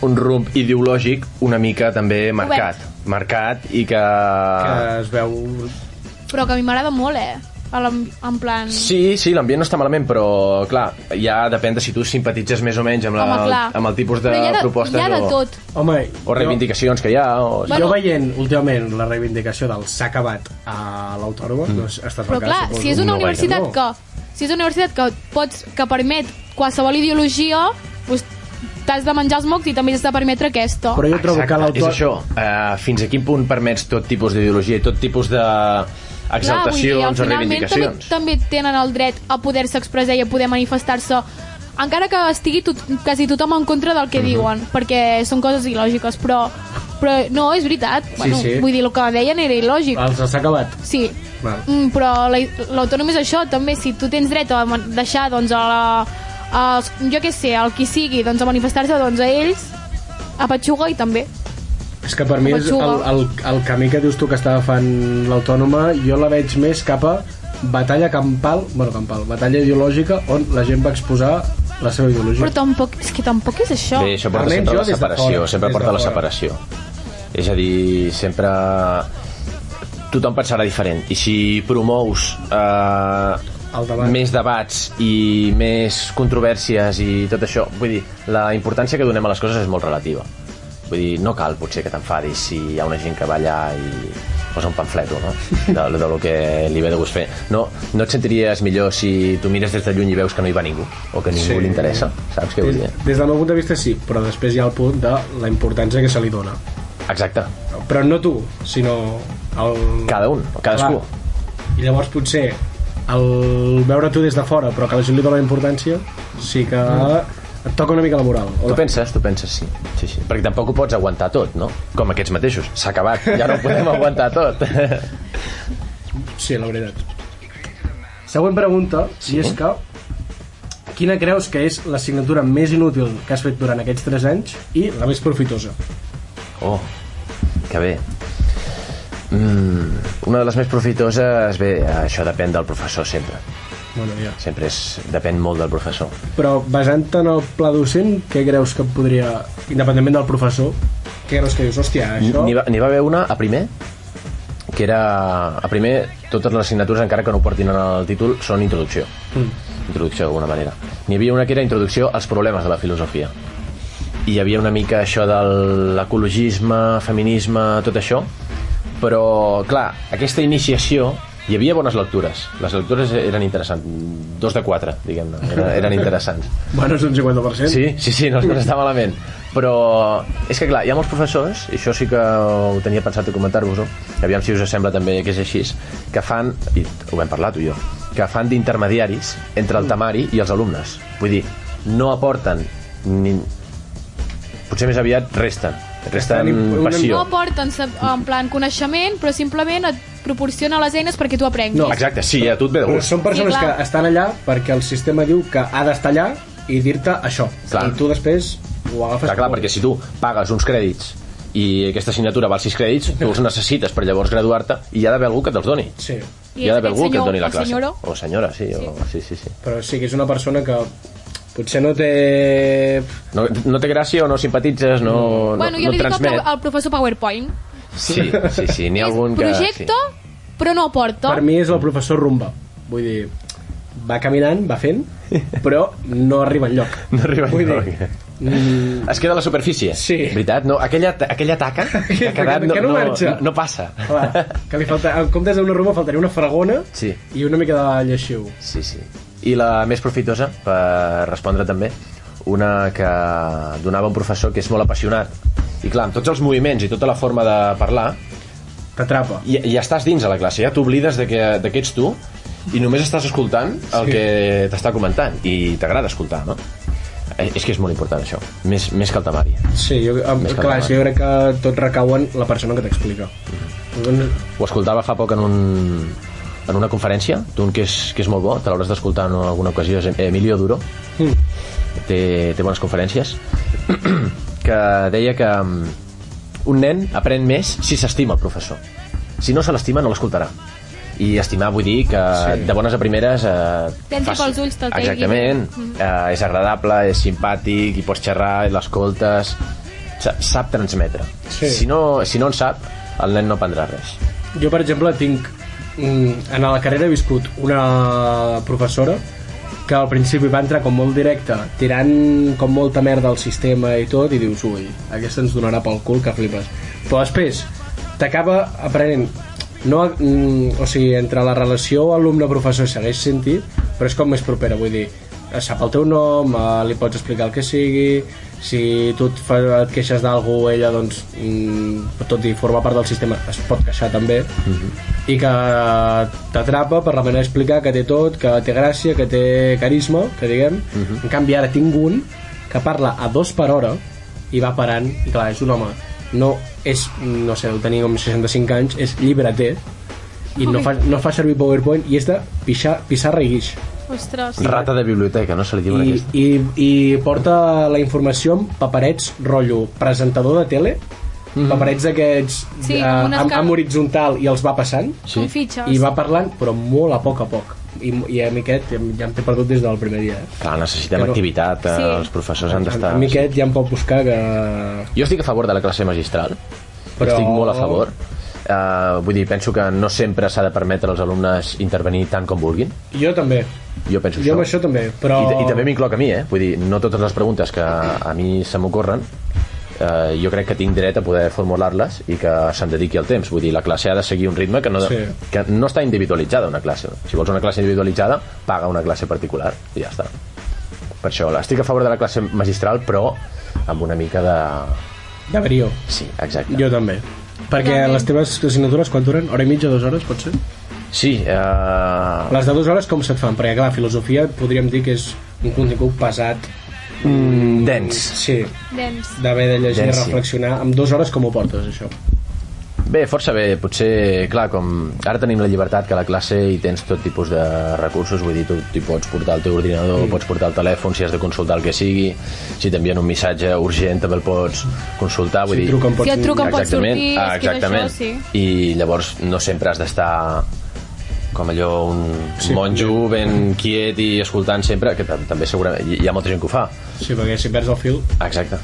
Speaker 5: un rumb ideològic una mica també marcat. Marcat i que...
Speaker 4: Que es veu...
Speaker 3: però que a mi m'agrada molt, eh? A la, en plan...
Speaker 5: Sí, sí, l'ambient no està malament, però clar, ja depèn de si tu simpatitzes més o menys amb, la,
Speaker 3: Home, clar.
Speaker 5: amb el tipus de,
Speaker 3: Però hi ha de
Speaker 5: propostes
Speaker 3: Hi ha de
Speaker 5: o,
Speaker 3: tot.
Speaker 4: Home,
Speaker 5: o reivindicacions que hi ha. O...
Speaker 4: Jo,
Speaker 3: Bueno.
Speaker 4: jo veient últimament la reivindicació del s'ha acabat a l'autònoma, mm. doncs ha estat
Speaker 3: Però clar,
Speaker 4: suposo.
Speaker 3: si és una
Speaker 5: no gaire,
Speaker 3: universitat
Speaker 4: no.
Speaker 3: que... Si és una universitat que, pots, que permet qualsevol ideologia, doncs t'has de menjar els mocs i també has de permetre aquesta.
Speaker 4: Però jo trobo que
Speaker 5: És
Speaker 4: l'autònoma...
Speaker 5: això, uh, fins a quin punt permets tot tipus d'ideologia i tot tipus de
Speaker 3: Clar, vull dir,
Speaker 5: exaltacions o
Speaker 3: finalment també,
Speaker 5: reivindicacions.
Speaker 3: també tenen el dret a poder-se expressar i a poder manifestar-se encara que estigui tot, quasi tothom en contra del que
Speaker 5: Mhm.
Speaker 3: diuen, perquè són coses il·lògiques, però, però no, és veritat. bueno,
Speaker 4: sí.
Speaker 3: Vull dir, el que deien era il·lògic.
Speaker 5: Ah.
Speaker 4: Els s'ha acabat.
Speaker 3: Sí,
Speaker 4: Val.
Speaker 3: mm, però la- l'autònom és això, també, si tu tens dret a man- deixar, doncs, a la, als, jo què sé, al qui sigui, doncs, a manifestar-se, doncs, a ells, a Patxuga i també.
Speaker 4: És que per mi és el,
Speaker 3: Petxuga.
Speaker 4: el, el camí que dius tu que està agafant l'autònoma, jo la veig més cap a batalla campal, bueno, campal, batalla ideològica, on la gent va exposar la seva ideologia.
Speaker 3: Però tampoc, és que tampoc és això.
Speaker 5: Bé, això porta
Speaker 4: Almenys
Speaker 5: sempre
Speaker 4: jo
Speaker 5: a la
Speaker 4: des de
Speaker 5: separació,
Speaker 4: fora,
Speaker 5: sempre
Speaker 4: des de
Speaker 5: porta a la
Speaker 4: fora.
Speaker 5: separació. És a dir, sempre tothom pensarà diferent i si promous eh,
Speaker 4: El debat.
Speaker 5: més debats i més controvèrsies i tot això, vull dir, la importància que donem a les coses és molt relativa vull dir, no cal potser que t'enfadis si hi ha una gent que va allà i posa un pamfleto, no? De, de lo que li ve de gust fer. No, no et sentiries millor si tu mires des de lluny i veus que no hi va ningú o que ningú
Speaker 4: Sí.
Speaker 5: sí. li interessa, saps què
Speaker 4: Des,
Speaker 5: vull dir?
Speaker 4: des del meu punt de vista sí, però després hi ha el punt de la importància que se li dona.
Speaker 5: Exacte,
Speaker 4: Però no tu, sinó el...
Speaker 5: cada un, cadascú.
Speaker 4: Clar. I llavors potser el veure tu des de fora, però que la gent li dona importància, sí que et toca una mica la moral.
Speaker 5: Tu penses, tu penses, sí. sí, sí. Perquè tampoc ho pots aguantar tot, no? Com aquests mateixos. S'ha acabat, ja no ho podem aguantar tot. [LAUGHS]
Speaker 4: Sí, la veritat. Següent pregunta, sí? i és que quina creus que és l'assignatura més inútil que has fet durant aquests 3 anys i la més profitosa?
Speaker 5: Oh, que bé. Mm, una de les més profitoses, bé, això depèn del professor sempre.
Speaker 4: Bueno, ja.
Speaker 5: Sempre és, depèn molt del professor.
Speaker 4: Però basant-te en el pla docent, què creus que podria, independentment del professor, què creus que dius? Hòstia, això...
Speaker 5: N'hi va, n'hi va haver una a primer que era... A primer, totes les assignatures, encara que no ho portin en el títol, són introducció. Mm. Introducció, d'alguna manera. N'hi havia una que era introducció als problemes de la filosofia. I hi havia una mica això de l'ecologisme, feminisme, tot això, però, clar, aquesta iniciació Hi havia bones lectures. Les lectures eren interessants. Dos de quatre, diguem-ne. Eren, eren interessants.
Speaker 4: Bueno, és un 50%.
Speaker 5: Sí, sí, sí, no, no està malament. Però és que, clar, hi ha molts professors, i això sí que ho tenia pensat de comentar-vos-ho, aviam si us sembla també que és així, que fan, i ho vam parlar tu i jo, que fan d'intermediaris entre
Speaker 4: Mm.
Speaker 5: el temari i els alumnes. Vull dir, no aporten ni... Potser més aviat resten. Resten
Speaker 4: Resten una-
Speaker 5: passió.
Speaker 3: No aporten sab- en plan coneixement, però simplement et proporciona les eines perquè tu aprenguis.
Speaker 4: No,
Speaker 5: Exacte, sí, a tu et ve de
Speaker 4: Però
Speaker 5: gust.
Speaker 4: Són persones
Speaker 3: Sí,
Speaker 4: que
Speaker 3: clar.
Speaker 4: estan allà perquè el sistema diu que ha d'estar allà i dir-te això.
Speaker 5: Clar.
Speaker 4: I tu després ho agafes.
Speaker 5: Clar, clar, perquè si tu pagues uns crèdits i aquesta assignatura val 6 crèdits, tu els necessites per llavors graduar-te i hi ha d'haver algú que te'ls doni.
Speaker 4: Sí,
Speaker 5: Hi ha d'haver algú que et doni la
Speaker 3: o
Speaker 5: classe.
Speaker 3: senyora.
Speaker 5: O senyora, sí. O... sí, sí, sí.
Speaker 4: però sí que és una persona que potser no té...
Speaker 5: No, no té gràcia o no simpatitzes, no,
Speaker 3: bueno,
Speaker 5: no,
Speaker 3: jo
Speaker 5: no
Speaker 3: li dic al,
Speaker 5: transmet.
Speaker 3: pro- al professor PowerPoint.
Speaker 5: Sí, sí, sí, n'hi ha algun que...
Speaker 3: projecte, però no aporta.
Speaker 4: Per mi és el professor rumba. Vull dir, va caminant, va fent, però no arriba enlloc.
Speaker 5: Sí. [LAUGHS] No arriba
Speaker 4: Vull
Speaker 5: enlloc.
Speaker 4: dir, mm,
Speaker 5: Es queda a la superfície.
Speaker 4: Sí.
Speaker 5: Veritat? No, aquella, ta-
Speaker 4: [LAUGHS]
Speaker 5: aquella taca que ha quedat,
Speaker 4: Que
Speaker 5: no,
Speaker 4: no
Speaker 5: no,
Speaker 4: marxa.
Speaker 5: no, no passa.
Speaker 4: clar, que li falta, en comptes d'una rumba faltaria una fragona
Speaker 5: Sí.
Speaker 4: i una mica de lleixiu.
Speaker 5: Sí, sí. I la més profitosa, per respondre també, una que donava un professor que és molt apassionat. I clar, amb tots els moviments i tota la forma de parlar,
Speaker 4: T'atrapa.
Speaker 5: i, i estàs dins a la classe, ja t'oblides de, que, de que ets tu i només estàs escoltant el
Speaker 4: Sí.
Speaker 5: que t'està comentant i t'agrada escoltar, no? Eh, És que és molt important això, més, més que el temari.
Speaker 4: Sí, jo, em,
Speaker 5: Més que
Speaker 4: clar,
Speaker 5: endavant.
Speaker 4: sí, jo crec que tot recau en la persona que t'explica.
Speaker 5: Mm.
Speaker 4: Doncs,
Speaker 5: Ho escoltava fa poc en un en una conferència d'un que, és, que és molt bo, te l'hauràs d'escoltar en alguna ocasió, és Emilio Duro, té, té bones conferències, [CLEARS THROAT] que deia que mm, un nen aprèn més si s'estima el professor. Si no se l'estima, no l'escoltarà. I estimar vull dir que sí. de bones a primeres... Eh,
Speaker 3: T'entri
Speaker 5: fas-
Speaker 3: pels ulls, te'l caigui.
Speaker 5: Exactament.
Speaker 3: Mm.
Speaker 5: Eh, és agradable, és simpàtic, i pots xerrar, i l'escoltes... Sa- Sap transmetre.
Speaker 4: Sí.
Speaker 5: Si, no, si no en sap, el nen no aprendrà res.
Speaker 4: Jo, per exemple, tinc... mm, En la carrera he viscut una professora que al principi va entrar com molt directa, tirant com molta merda al sistema i tot, i dius, ui, aquesta ens donarà pel cul que flipes. Però després t'acaba aprenent no, mm, o sigui, entre la relació alumne-professor segueix sentit, però és com més propera, vull dir, sap el teu nom, eh, li pots explicar el que sigui, si tu et, fa, et queixes d'algú, ella, doncs, mm, tot i formar part del sistema, es pot queixar també, i que t'atrapa per la manera d'explicar que té tot, que té gràcia, que té carisma, que diguem. En canvi, ara tinc un que parla a dos per hora i va parant, i clar, és un home, no és, no sé, deu tenir com 65 anys, és llibreter, i no fa, no fa servir PowerPoint i és de pixar, pissarra i guix
Speaker 3: Ostres.
Speaker 5: Rata de biblioteca, no se li diu en
Speaker 4: i,
Speaker 5: aquesta.
Speaker 4: i, i porta la informació amb paperets rotllo presentador de tele
Speaker 5: Mhm.
Speaker 4: mm. paperets d'aquests
Speaker 3: Sí,
Speaker 4: eh,
Speaker 3: amb unes
Speaker 4: amb,
Speaker 3: car-
Speaker 4: amb horitzontal i els va passant
Speaker 3: Sí. Com fitxes.
Speaker 4: i va parlant però molt a poc a poc i, i a mi aquest ja, em- ja em té perdut des del primer dia eh?
Speaker 5: Clar, necessitem
Speaker 4: Que no-
Speaker 5: activitat, eh,
Speaker 3: Sí.
Speaker 5: els professors han d'estar...
Speaker 4: a, a mi aquest ja em pot buscar que...
Speaker 5: Jo estic a favor de la classe magistral,
Speaker 4: Però-
Speaker 5: però... estic molt a favor. Uh, vull dir, penso que no sempre s'ha de permetre als alumnes intervenir tant com vulguin.
Speaker 4: jo també
Speaker 5: Jo penso
Speaker 4: jo amb
Speaker 5: això.
Speaker 4: això també però...
Speaker 5: I, I també m'incloc a mi, eh? Vull dir, no totes les preguntes que a mi se m'ocorren eh, jo crec que tinc dret a poder formular-les i que se'n dediqui el temps. Vull dir, la classe ha de seguir un ritme que no,
Speaker 4: Sí.
Speaker 5: que no està individualitzada, una classe. Si vols una classe individualitzada, paga una classe particular i ja està. Per això, estic a favor de la classe magistral, però amb una mica de...
Speaker 4: de brio
Speaker 5: Sí, exacte.
Speaker 4: jo també perquè
Speaker 3: Totalment.
Speaker 4: les teves assignatures quan duren? Hora i mitja, dues hores, potser?
Speaker 5: Sí, eh,
Speaker 4: Les de dues hores com se't fan? Perquè, clar, filosofia podríem dir que és un contingut pesat.
Speaker 5: mm, dens.
Speaker 4: Sí,
Speaker 3: Dens.
Speaker 4: d'haver de llegir i
Speaker 5: Densi.
Speaker 4: reflexionar. Amb dues hores com ho portes, això?
Speaker 5: Bé, força bé, potser, clar, com ara tenim la llibertat que a la classe hi tens tot tipus de recursos, vull dir, tu t'hi pots portar el teu ordinador, pots portar el telèfon, si has de consultar el que sigui, si t'envien un missatge urgent també el pots consultar, vull
Speaker 4: Si
Speaker 5: dir...
Speaker 4: truquen
Speaker 3: Si
Speaker 4: pots
Speaker 3: et truquen pots
Speaker 5: Exactament,
Speaker 3: sortir,
Speaker 5: ah,
Speaker 3: és que
Speaker 5: exactament.
Speaker 3: això, sí.
Speaker 5: I llavors no sempre has d'estar com allò un
Speaker 4: Sí.
Speaker 5: monjo ben quiet i escoltant sempre, que tam- també segurament hi hi ha molta gent que ho fa,
Speaker 4: Sí, perquè si perds el fil...
Speaker 5: Exacte.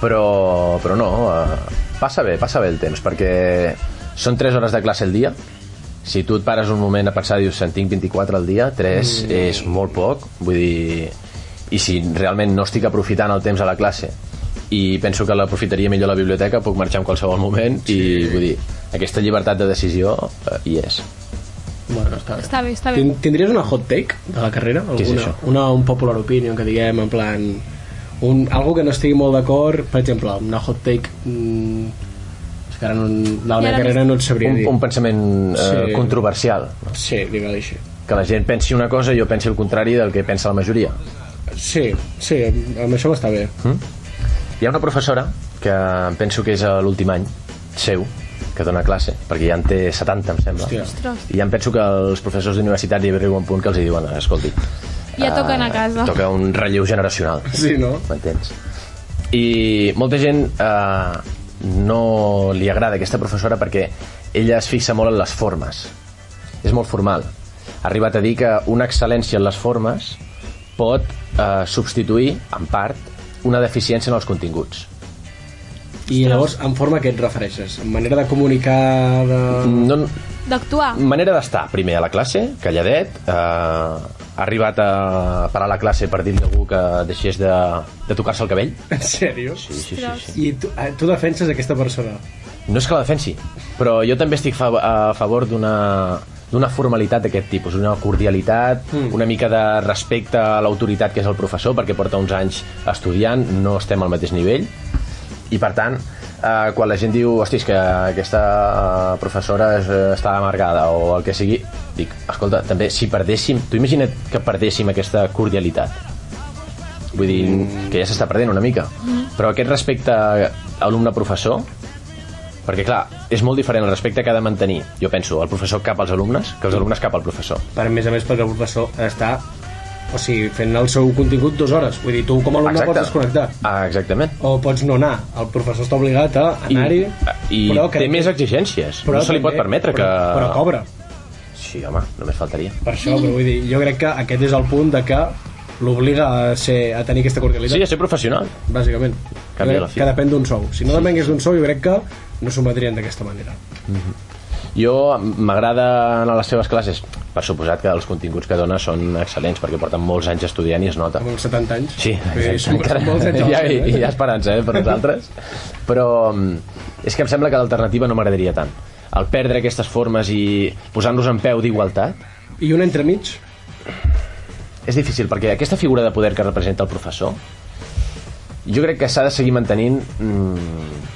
Speaker 5: Però, però no, eh, passa bé, passa bé el temps, perquè són 3 hores de classe al dia. Si tu et pares un moment a pensar, dius, en tinc 24 al dia, 3 mm. és molt poc, vull dir... I si realment no estic aprofitant el temps a la classe i penso que l'aprofitaria millor a la biblioteca, puc marxar en qualsevol moment sí. i, vull dir, aquesta llibertat de decisió eh, hi és.
Speaker 4: Bueno, està bé.
Speaker 3: Està bé, està bé.
Speaker 4: Tin- Tindries una hot take de la carrera? Alguna,
Speaker 5: Què és això?
Speaker 4: Una, un popular opinion que diguem en plan... Un, algo que no estigui molt d'acord, per exemple, una hot take... Mm, és que ara no, la meva
Speaker 3: ara
Speaker 4: carrera no et sabria
Speaker 5: Un,
Speaker 4: dir.
Speaker 5: un pensament eh,
Speaker 4: Sí.
Speaker 5: controversial.
Speaker 4: Sí, digue-li així.
Speaker 5: Que la gent pensi una cosa i jo pensi el contrari del que pensa la majoria.
Speaker 4: Sí, sí, amb això m'està bé.
Speaker 5: Mm. Hi ha una professora que em penso que és a l'últim any seu, que dona classe, perquè ja en té 70, em sembla.
Speaker 4: Hòstia.
Speaker 3: Ostres.
Speaker 5: I ja em penso que els professors d'universitat hi arriba un punt que els hi diuen, escolti...
Speaker 3: Ja toca anar a casa."
Speaker 5: Eh, Ah, Toca un relleu generacional.
Speaker 4: Sí, no?
Speaker 5: M'entens? I molta gent eh, no li agrada aquesta professora perquè ella es fixa molt en les formes. És molt formal. Ha arribat a dir que una excel·lència en les formes pot eh, substituir, en part, una deficiència en els continguts.
Speaker 4: I llavors, en forma que et refereixes? En manera de comunicar... De... [LAUGHS]
Speaker 5: No,
Speaker 3: D'actuar.
Speaker 5: manera d'estar primer a la classe, calladet eh, ha arribat a parar la classe per dir-li a algú que deixés de, de tocar-se el cabell
Speaker 4: En sèrio?
Speaker 5: sí, sí, sí, sí.
Speaker 4: I tu, eh, tu defenses aquesta persona?
Speaker 5: no és que la defensi però jo també estic fa a favor d'una d'una formalitat d'aquest tipus, una cordialitat, mm. una mica de respecte a l'autoritat que és el professor, perquè porta uns anys estudiant, no estem al mateix nivell, i per tant, eh, quan la gent diu, hosti, és que aquesta eh, professora és, eh, està amargada o el que sigui, dic, escolta, també, si perdéssim, tu imagina't que perdéssim aquesta cordialitat, Vull dir, que ja s'està perdent una mica. Però aquest respecte alumne-professor, perquè clar, és molt diferent el respecte que ha de mantenir, jo penso, el professor cap als alumnes, que els alumnes cap al professor.
Speaker 4: Per a més a més, perquè el professor està o sigui, fent el seu contingut dues hores. Vull dir, tu com a alumne pots desconnectar.
Speaker 5: Ah, exactament.
Speaker 4: O pots no anar. El professor està obligat a anar-hi.
Speaker 5: I
Speaker 4: però
Speaker 5: té
Speaker 4: crec
Speaker 5: més
Speaker 4: que-
Speaker 5: exigències.
Speaker 4: però
Speaker 5: no se li pot
Speaker 4: també-
Speaker 5: permetre que...
Speaker 4: però, Però cobra,
Speaker 5: Sí, home, només faltaria.
Speaker 4: per això. Però vull dir, jo crec que aquest és el punt de que l'obliga a, ser, a tenir aquesta cordialitat,
Speaker 5: Sí, a ser professional.
Speaker 4: bàsicament. Jo
Speaker 5: Canvia la
Speaker 4: crec
Speaker 5: fi.
Speaker 4: que depèn d'un sou. Si no depengués d'un sou, jo crec que no s'ho metrien d'aquesta manera.
Speaker 5: Jo m'agrada anar a les seves classes. Per suposat que els continguts que dona són excel·lents, perquè porten molts anys estudiant i es nota.
Speaker 4: Amb uns 70 anys.
Speaker 5: Sí,
Speaker 4: Vull dir, són,
Speaker 5: encara,
Speaker 4: són molts anys.
Speaker 5: [LAUGHS] hi, ha,
Speaker 4: abans, eh?
Speaker 5: hi ha esperança eh, per nosaltres però mm, és que em sembla que l'alternativa no m'agradaria tant el perdre aquestes formes i posar-nos en peu d'igualtat
Speaker 4: I un entremig?
Speaker 5: és difícil perquè aquesta figura de poder que representa el professor jo crec que s'ha de seguir mantenint mm,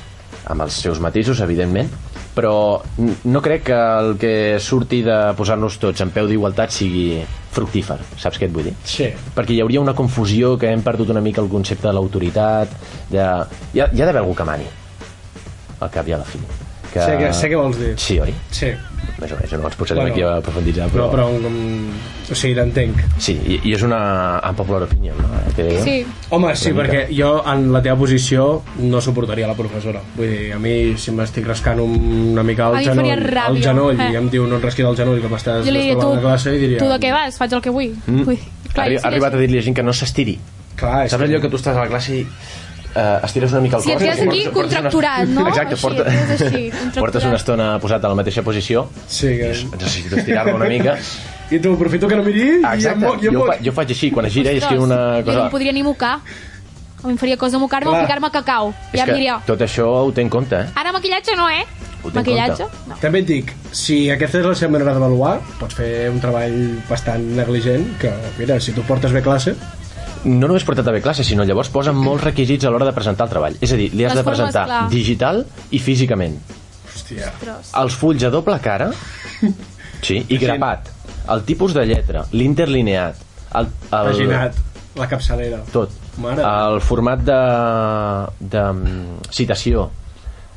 Speaker 5: amb els seus matisos evidentment però n- no crec que el que surti de posar-nos tots en peu d'igualtat sigui fructífer, saps què et vull dir?
Speaker 4: Sí.
Speaker 5: perquè hi hauria una confusió que hem perdut una mica el concepte de l'autoritat de... hi, ha, hi ha d'haver algú que mani al cap i a la fi que...
Speaker 4: Sé, que, sé què vols dir.
Speaker 5: sí, oi?
Speaker 4: Sí.
Speaker 5: Més o menys, no ens posarem
Speaker 4: Bueno.
Speaker 5: bueno, aquí a profunditzar
Speaker 4: Però,
Speaker 5: però...
Speaker 4: però, um, o sigui, t'entenc.
Speaker 5: sí, i, i és una en popular opinion no? Eh, que-
Speaker 3: Sí.
Speaker 4: Home, sí,
Speaker 5: mica.
Speaker 4: perquè jo en la teva posició no suportaria la professora. Vull dir, a mi si m'estic rascant un, una mica
Speaker 3: A
Speaker 4: el
Speaker 3: mi em
Speaker 4: genoll,
Speaker 3: faria ràbia,
Speaker 4: el genoll
Speaker 3: eh.
Speaker 4: i em diu no et rasquis el genoll que m'estàs
Speaker 3: Jo li diria, tu,
Speaker 4: destrobant la classe i diria...
Speaker 3: tu de què vas? Faig el que vull.
Speaker 5: Mm.
Speaker 3: vull.
Speaker 5: Clar,
Speaker 3: jo
Speaker 5: Arri
Speaker 3: sí que
Speaker 5: ha
Speaker 3: sí.
Speaker 5: arribat a dir-li a gent que no s'estiri
Speaker 4: Clar, és
Speaker 5: saps allò que tu estàs a la classe i eh, estires una mica el
Speaker 3: Si et
Speaker 5: cos
Speaker 3: quedes
Speaker 5: portes-
Speaker 3: aquí,
Speaker 5: portes una-
Speaker 3: contracturat, no?
Speaker 5: exacte,
Speaker 3: Així,
Speaker 5: porta...
Speaker 3: et quedes així, contracturat.
Speaker 5: [LAUGHS] portes una estona posat a la mateixa posició
Speaker 4: Sí, que...
Speaker 5: necessito estirar-lo una
Speaker 4: [LAUGHS]
Speaker 5: mica
Speaker 4: I tu, aprofito que no miri
Speaker 5: Ah,
Speaker 4: i em
Speaker 5: Exacte,
Speaker 4: moc, i em
Speaker 5: jo,
Speaker 4: moc.
Speaker 5: fa, jo faig així, quan es gira i
Speaker 3: Ostres,
Speaker 5: escriu una
Speaker 3: Jo
Speaker 5: cosa...
Speaker 3: no em podria ni mocar. A mi em faria cosa mocar-me o
Speaker 4: Clar.
Speaker 3: ficar-me cacau.
Speaker 5: És
Speaker 3: Ja em
Speaker 5: que
Speaker 3: diria,
Speaker 5: tot això ho té en compte, eh?
Speaker 3: ara maquillatge no, eh?
Speaker 5: Ho té en
Speaker 3: Maquillatge?
Speaker 5: compte.
Speaker 3: No.
Speaker 4: També et dic, si aquesta és la seva manera d'avaluar, pots fer un treball bastant negligent, que, mira, si tu portes bé classe,
Speaker 5: No només portat a bé classe, sinó llavors posen molts requisits a l'hora de presentar el treball. És a dir, li has
Speaker 3: Les
Speaker 5: de
Speaker 3: formes,
Speaker 5: presentar
Speaker 3: clar.
Speaker 5: digital i físicament.
Speaker 4: hòstia,
Speaker 5: Els fulls a doble cara, sí, i grapat. El tipus de lletra, l'interlineat, el, el,
Speaker 4: paginat, la capçalera.
Speaker 5: tot.
Speaker 4: Mare.
Speaker 5: El format de, de mm, citació,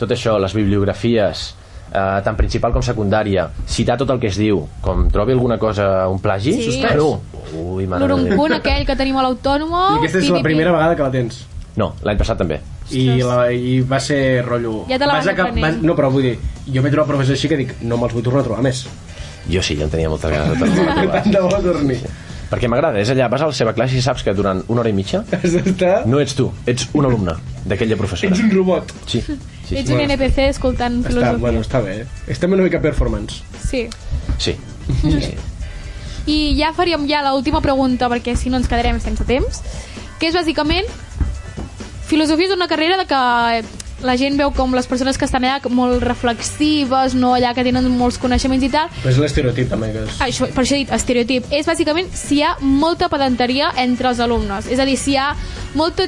Speaker 5: tot això, les bibliografies, eh, tant principal com secundària, citar tot el que es diu, com trobi alguna cosa, un plagi,
Speaker 3: Sí.
Speaker 5: suspès. No. Ui, mare de Déu. [LAUGHS]
Speaker 3: L'oruncunt aquell que tenim a l'autònoma...
Speaker 4: I aquesta és
Speaker 3: pi,
Speaker 4: la
Speaker 3: pi,
Speaker 4: primera
Speaker 3: pi.
Speaker 4: vegada que la tens.
Speaker 5: No, l'any passat també.
Speaker 4: I, la, i va ser rotllo...
Speaker 3: Ja te la vas
Speaker 4: acab-
Speaker 3: aprenent.
Speaker 4: vas, No, però vull dir, jo m'he trobat professors així que dic, no me'ls vull tornar a trobar
Speaker 3: [LAUGHS]
Speaker 4: més.
Speaker 5: Jo sí, jo en tenia moltes ganes de tornar
Speaker 3: Ah,
Speaker 5: a
Speaker 4: Tant [LAUGHS]
Speaker 5: trobar.
Speaker 4: de bo dormir.
Speaker 5: Perquè m'agrada, és allà, vas a la seva classe i saps que durant una hora i mitja
Speaker 4: Has d'estar...
Speaker 5: no ets tu, ets un alumne d'aquella professora.
Speaker 4: Ets un robot.
Speaker 5: Sí, sí, sí.
Speaker 3: Ets un NPC escoltant
Speaker 4: Està,
Speaker 3: filosofia.
Speaker 4: bueno, està bé. eh? Estem una mica performance.
Speaker 3: Sí.
Speaker 5: sí. sí, sí.
Speaker 3: I ja faríem ja l'última pregunta, perquè si no ens quedarem sense temps, que és bàsicament... Filosofia és una carrera de que la gent veu com les persones que estan allà com molt reflexives, no allà que tenen molts coneixements i tal,
Speaker 4: Però és l'estereotip, també, que és...
Speaker 3: això, per això he dit estereotip, és bàsicament si hi ha molta pedanteria entre els alumnes. És a dir, si hi ha molta,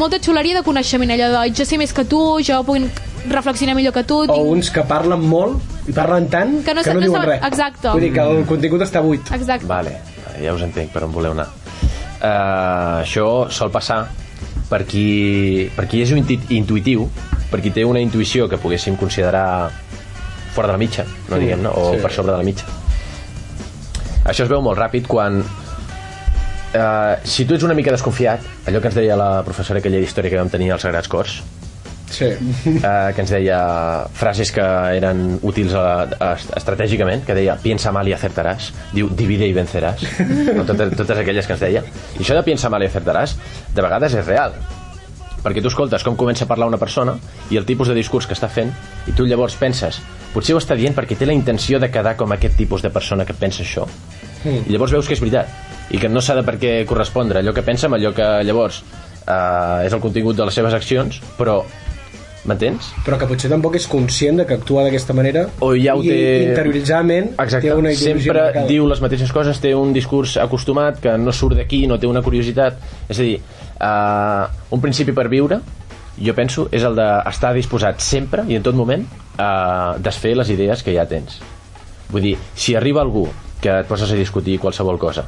Speaker 3: molta xuleria de coneixement, allò de jo sé més que tu, jo puc reflexionar millor que tu...
Speaker 4: O
Speaker 3: tinc-
Speaker 4: uns que parlen molt i parlen tant
Speaker 3: Que no sa-
Speaker 4: que no
Speaker 3: no
Speaker 4: diuen
Speaker 3: saben-
Speaker 4: res.
Speaker 3: exacte.
Speaker 4: Vull dir que
Speaker 5: Mm.
Speaker 4: el contingut està buit.
Speaker 3: Exacte.
Speaker 5: Vale, vale, ja us entenc per on voleu anar. Uh, això sol passar per qui, per qui és inti- intuitiu, per qui té una intuïció que poguéssim considerar fora de la mitja, no
Speaker 4: Sí,
Speaker 5: diguem, no? o
Speaker 4: sí.
Speaker 5: per sobre de la mitja. Això es veu molt ràpid quan... Uh, si tu ets una mica desconfiat, allò que ens deia la professora aquella d'història que vam tenir als Sagrats Cors,
Speaker 4: Sí.
Speaker 5: [LAUGHS] eh, que ens deia frases que eren útils a, a, estratègicament, que deia piensa mal i acertaràs, diu divide i venceràs, no, totes, totes aquelles que ens deia. I això de piensa mal i acertaràs, de vegades és real, perquè tu escoltes com comença a parlar una persona i el tipus de discurs que està fent, i tu llavors penses, potser ho està dient perquè té la intenció de quedar com aquest tipus de persona que pensa això. Mm. I llavors veus que és veritat i que no s'ha de per què correspondre allò que pensa amb allò que llavors eh, és el contingut de les seves accions, però m'entens?
Speaker 4: Però que potser tampoc és conscient de que actua d'aquesta manera
Speaker 5: O ja ho
Speaker 4: i
Speaker 5: té-
Speaker 4: interioritzament
Speaker 5: Exacte,
Speaker 4: té una ideologia
Speaker 5: sempre
Speaker 4: marcada.
Speaker 5: diu les mateixes coses, té un discurs acostumat que no surt d'aquí, no té una curiositat. És a dir, uh, un principi per viure, jo penso, és el d'estar disposat sempre i en tot moment a desfer les idees que ja tens. Vull dir, si arriba algú que et poses a discutir qualsevol cosa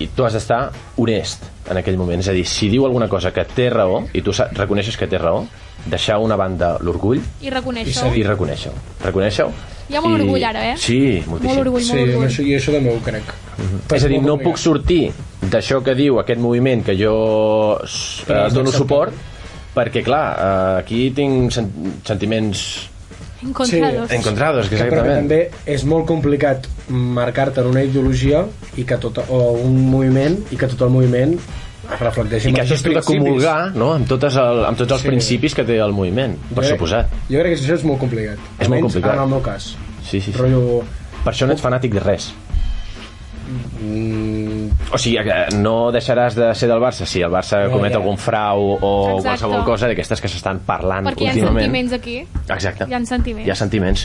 Speaker 5: i tu has d'estar honest en aquell moment. És a dir, si diu alguna cosa que té raó i tu sa- reconeixes que té raó, deixar a una banda l'orgull
Speaker 3: I reconèixer
Speaker 5: i reconèixer-ho. Reconèixer-ho.
Speaker 3: Hi ha molt orgull ara, eh?
Speaker 5: Sí, moltíssim.
Speaker 3: Molt orgull,
Speaker 4: Sí,
Speaker 3: molt
Speaker 4: jo
Speaker 3: orgull.
Speaker 4: això, jo això també ho crec.
Speaker 5: Mm-hmm. És a dir, no
Speaker 4: Molt
Speaker 5: puc sortir d'això que diu aquest moviment que jo s- eh, dono suport perquè, clar, eh, aquí tinc sen sentiments
Speaker 3: Encontrados.
Speaker 4: Sí,
Speaker 5: encontrados, que
Speaker 4: Que, però que
Speaker 5: exactament.
Speaker 4: també és molt complicat marcar-te en una ideologia i que tot, o un moviment i que tot el moviment es reflecteixi
Speaker 5: I
Speaker 4: en els
Speaker 5: que això
Speaker 4: seus
Speaker 5: és de
Speaker 4: principis.
Speaker 5: comulgar no? amb, totes el, amb tots els
Speaker 4: Sí.
Speaker 5: principis que té el moviment, per
Speaker 4: Jo crec-
Speaker 5: suposat.
Speaker 4: Jo crec que això és molt complicat.
Speaker 5: És molt
Speaker 4: Almenys
Speaker 5: complicat.
Speaker 4: En el meu cas.
Speaker 5: Sí, sí, sí.
Speaker 4: Rotllo...
Speaker 5: Per això no ets fanàtic de res.
Speaker 4: Mm,
Speaker 5: O sigui, que no deixaràs de ser del Barça si el Barça
Speaker 4: No,
Speaker 5: comet
Speaker 4: ja.
Speaker 5: algun frau o
Speaker 3: Exacte.
Speaker 5: qualsevol cosa d'aquestes que s'estan parlant
Speaker 3: Perquè hi ha
Speaker 5: últimament.
Speaker 3: sentiments aquí.
Speaker 5: Exacte.
Speaker 3: Hi ha sentiments.
Speaker 5: Hi ha sentiments.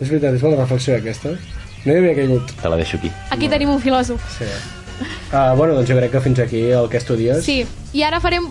Speaker 4: és veritat, és bona reflexió aquesta. No hi havia caigut.
Speaker 5: Te la deixo aquí.
Speaker 3: Aquí tenim un filòsof.
Speaker 4: Sí. Uh, bueno, doncs jo crec que fins aquí el que estudies.
Speaker 3: Sí, i ara farem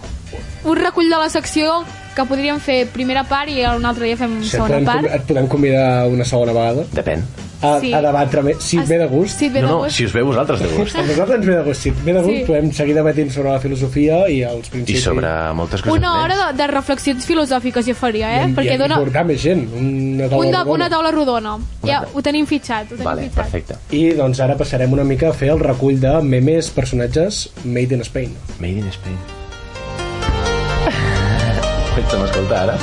Speaker 3: un recull de la secció que podríem fer primera part i un altre dia fem
Speaker 4: Si et,
Speaker 3: segona
Speaker 4: podem, com-
Speaker 3: part.
Speaker 4: et podem convidar una segona vegada
Speaker 5: Depèn.
Speaker 4: a,
Speaker 3: Sí.
Speaker 4: a debatre més, si et ve de gust.
Speaker 3: Si et ve
Speaker 5: no,
Speaker 3: de
Speaker 5: no,
Speaker 3: gust.
Speaker 5: si us veu vosaltres de
Speaker 3: [LAUGHS]
Speaker 5: gust.
Speaker 4: A nosaltres ens ve de gust. Si et ve de gust,
Speaker 3: Sí.
Speaker 4: podem seguir debatint sobre la filosofia i els
Speaker 5: I
Speaker 4: principis.
Speaker 5: sobre moltes coses
Speaker 3: Una hora
Speaker 5: més.
Speaker 3: de, de reflexions filosòfiques jo faria, eh?
Speaker 4: I,
Speaker 3: Perquè
Speaker 4: i
Speaker 3: dona
Speaker 4: portar més gent. Una taula
Speaker 3: un de,
Speaker 4: rodona.
Speaker 3: una taula rodona. Ja
Speaker 5: taula.
Speaker 3: ho tenim fitxat. Ho tenim
Speaker 5: Vale,
Speaker 3: fitxat.
Speaker 5: perfecte.
Speaker 4: I doncs ara passarem una mica a fer el recull de memes, personatges made in Spain.
Speaker 5: Made in [LAUGHS] Spain. Pensa'm escoltar ara.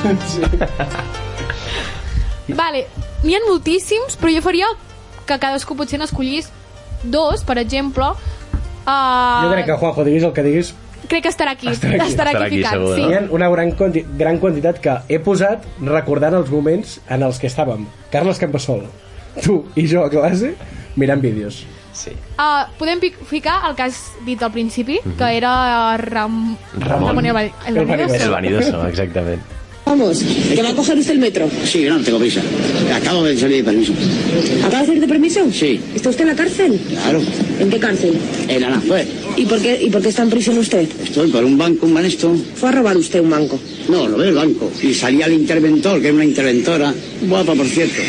Speaker 3: Vale, n'hi ha moltíssims, però jo faria que cadascú potser n'escollís dos, per exemple. Uh,
Speaker 4: Jo crec que, Juanjo, diguis el que diguis,
Speaker 3: crec que estarà aquí.
Speaker 4: Estarà aquí.
Speaker 5: Estarà aquí,
Speaker 3: ficat,
Speaker 5: segur,
Speaker 3: sí.
Speaker 4: hi ha una gran, quanti gran quantitat que he posat recordant els moments en els que estàvem. Carles Campasol, tu i jo a classe mirant vídeos.
Speaker 5: Sí.
Speaker 3: Uh, podem pic- ficar el que has dit al principi,
Speaker 5: Mhm.
Speaker 3: que era uh, Ram...
Speaker 5: Ramon.
Speaker 3: Ramon Elba-
Speaker 4: Elvanidos.
Speaker 3: Elvanidos.
Speaker 5: El vanidoso, exactament.
Speaker 7: Vamos, que va a coger usted el metro.
Speaker 8: Sí, no, no tengo prisa. Acabo de salir de permiso.
Speaker 7: ¿Acaba de salir de permiso?
Speaker 8: Sí.
Speaker 7: ¿Está usted en la cárcel?
Speaker 8: Claro.
Speaker 7: ¿En qué cárcel?
Speaker 8: En Aranjuez.
Speaker 7: ¿Y por qué, y por qué está en prisión usted?
Speaker 8: Estoy por un banco, un banesto.
Speaker 7: Fue a robar usted un banco.
Speaker 8: No, lo ve el banco. Y salía el interventor, que es una interventora. Guapa, por cierto.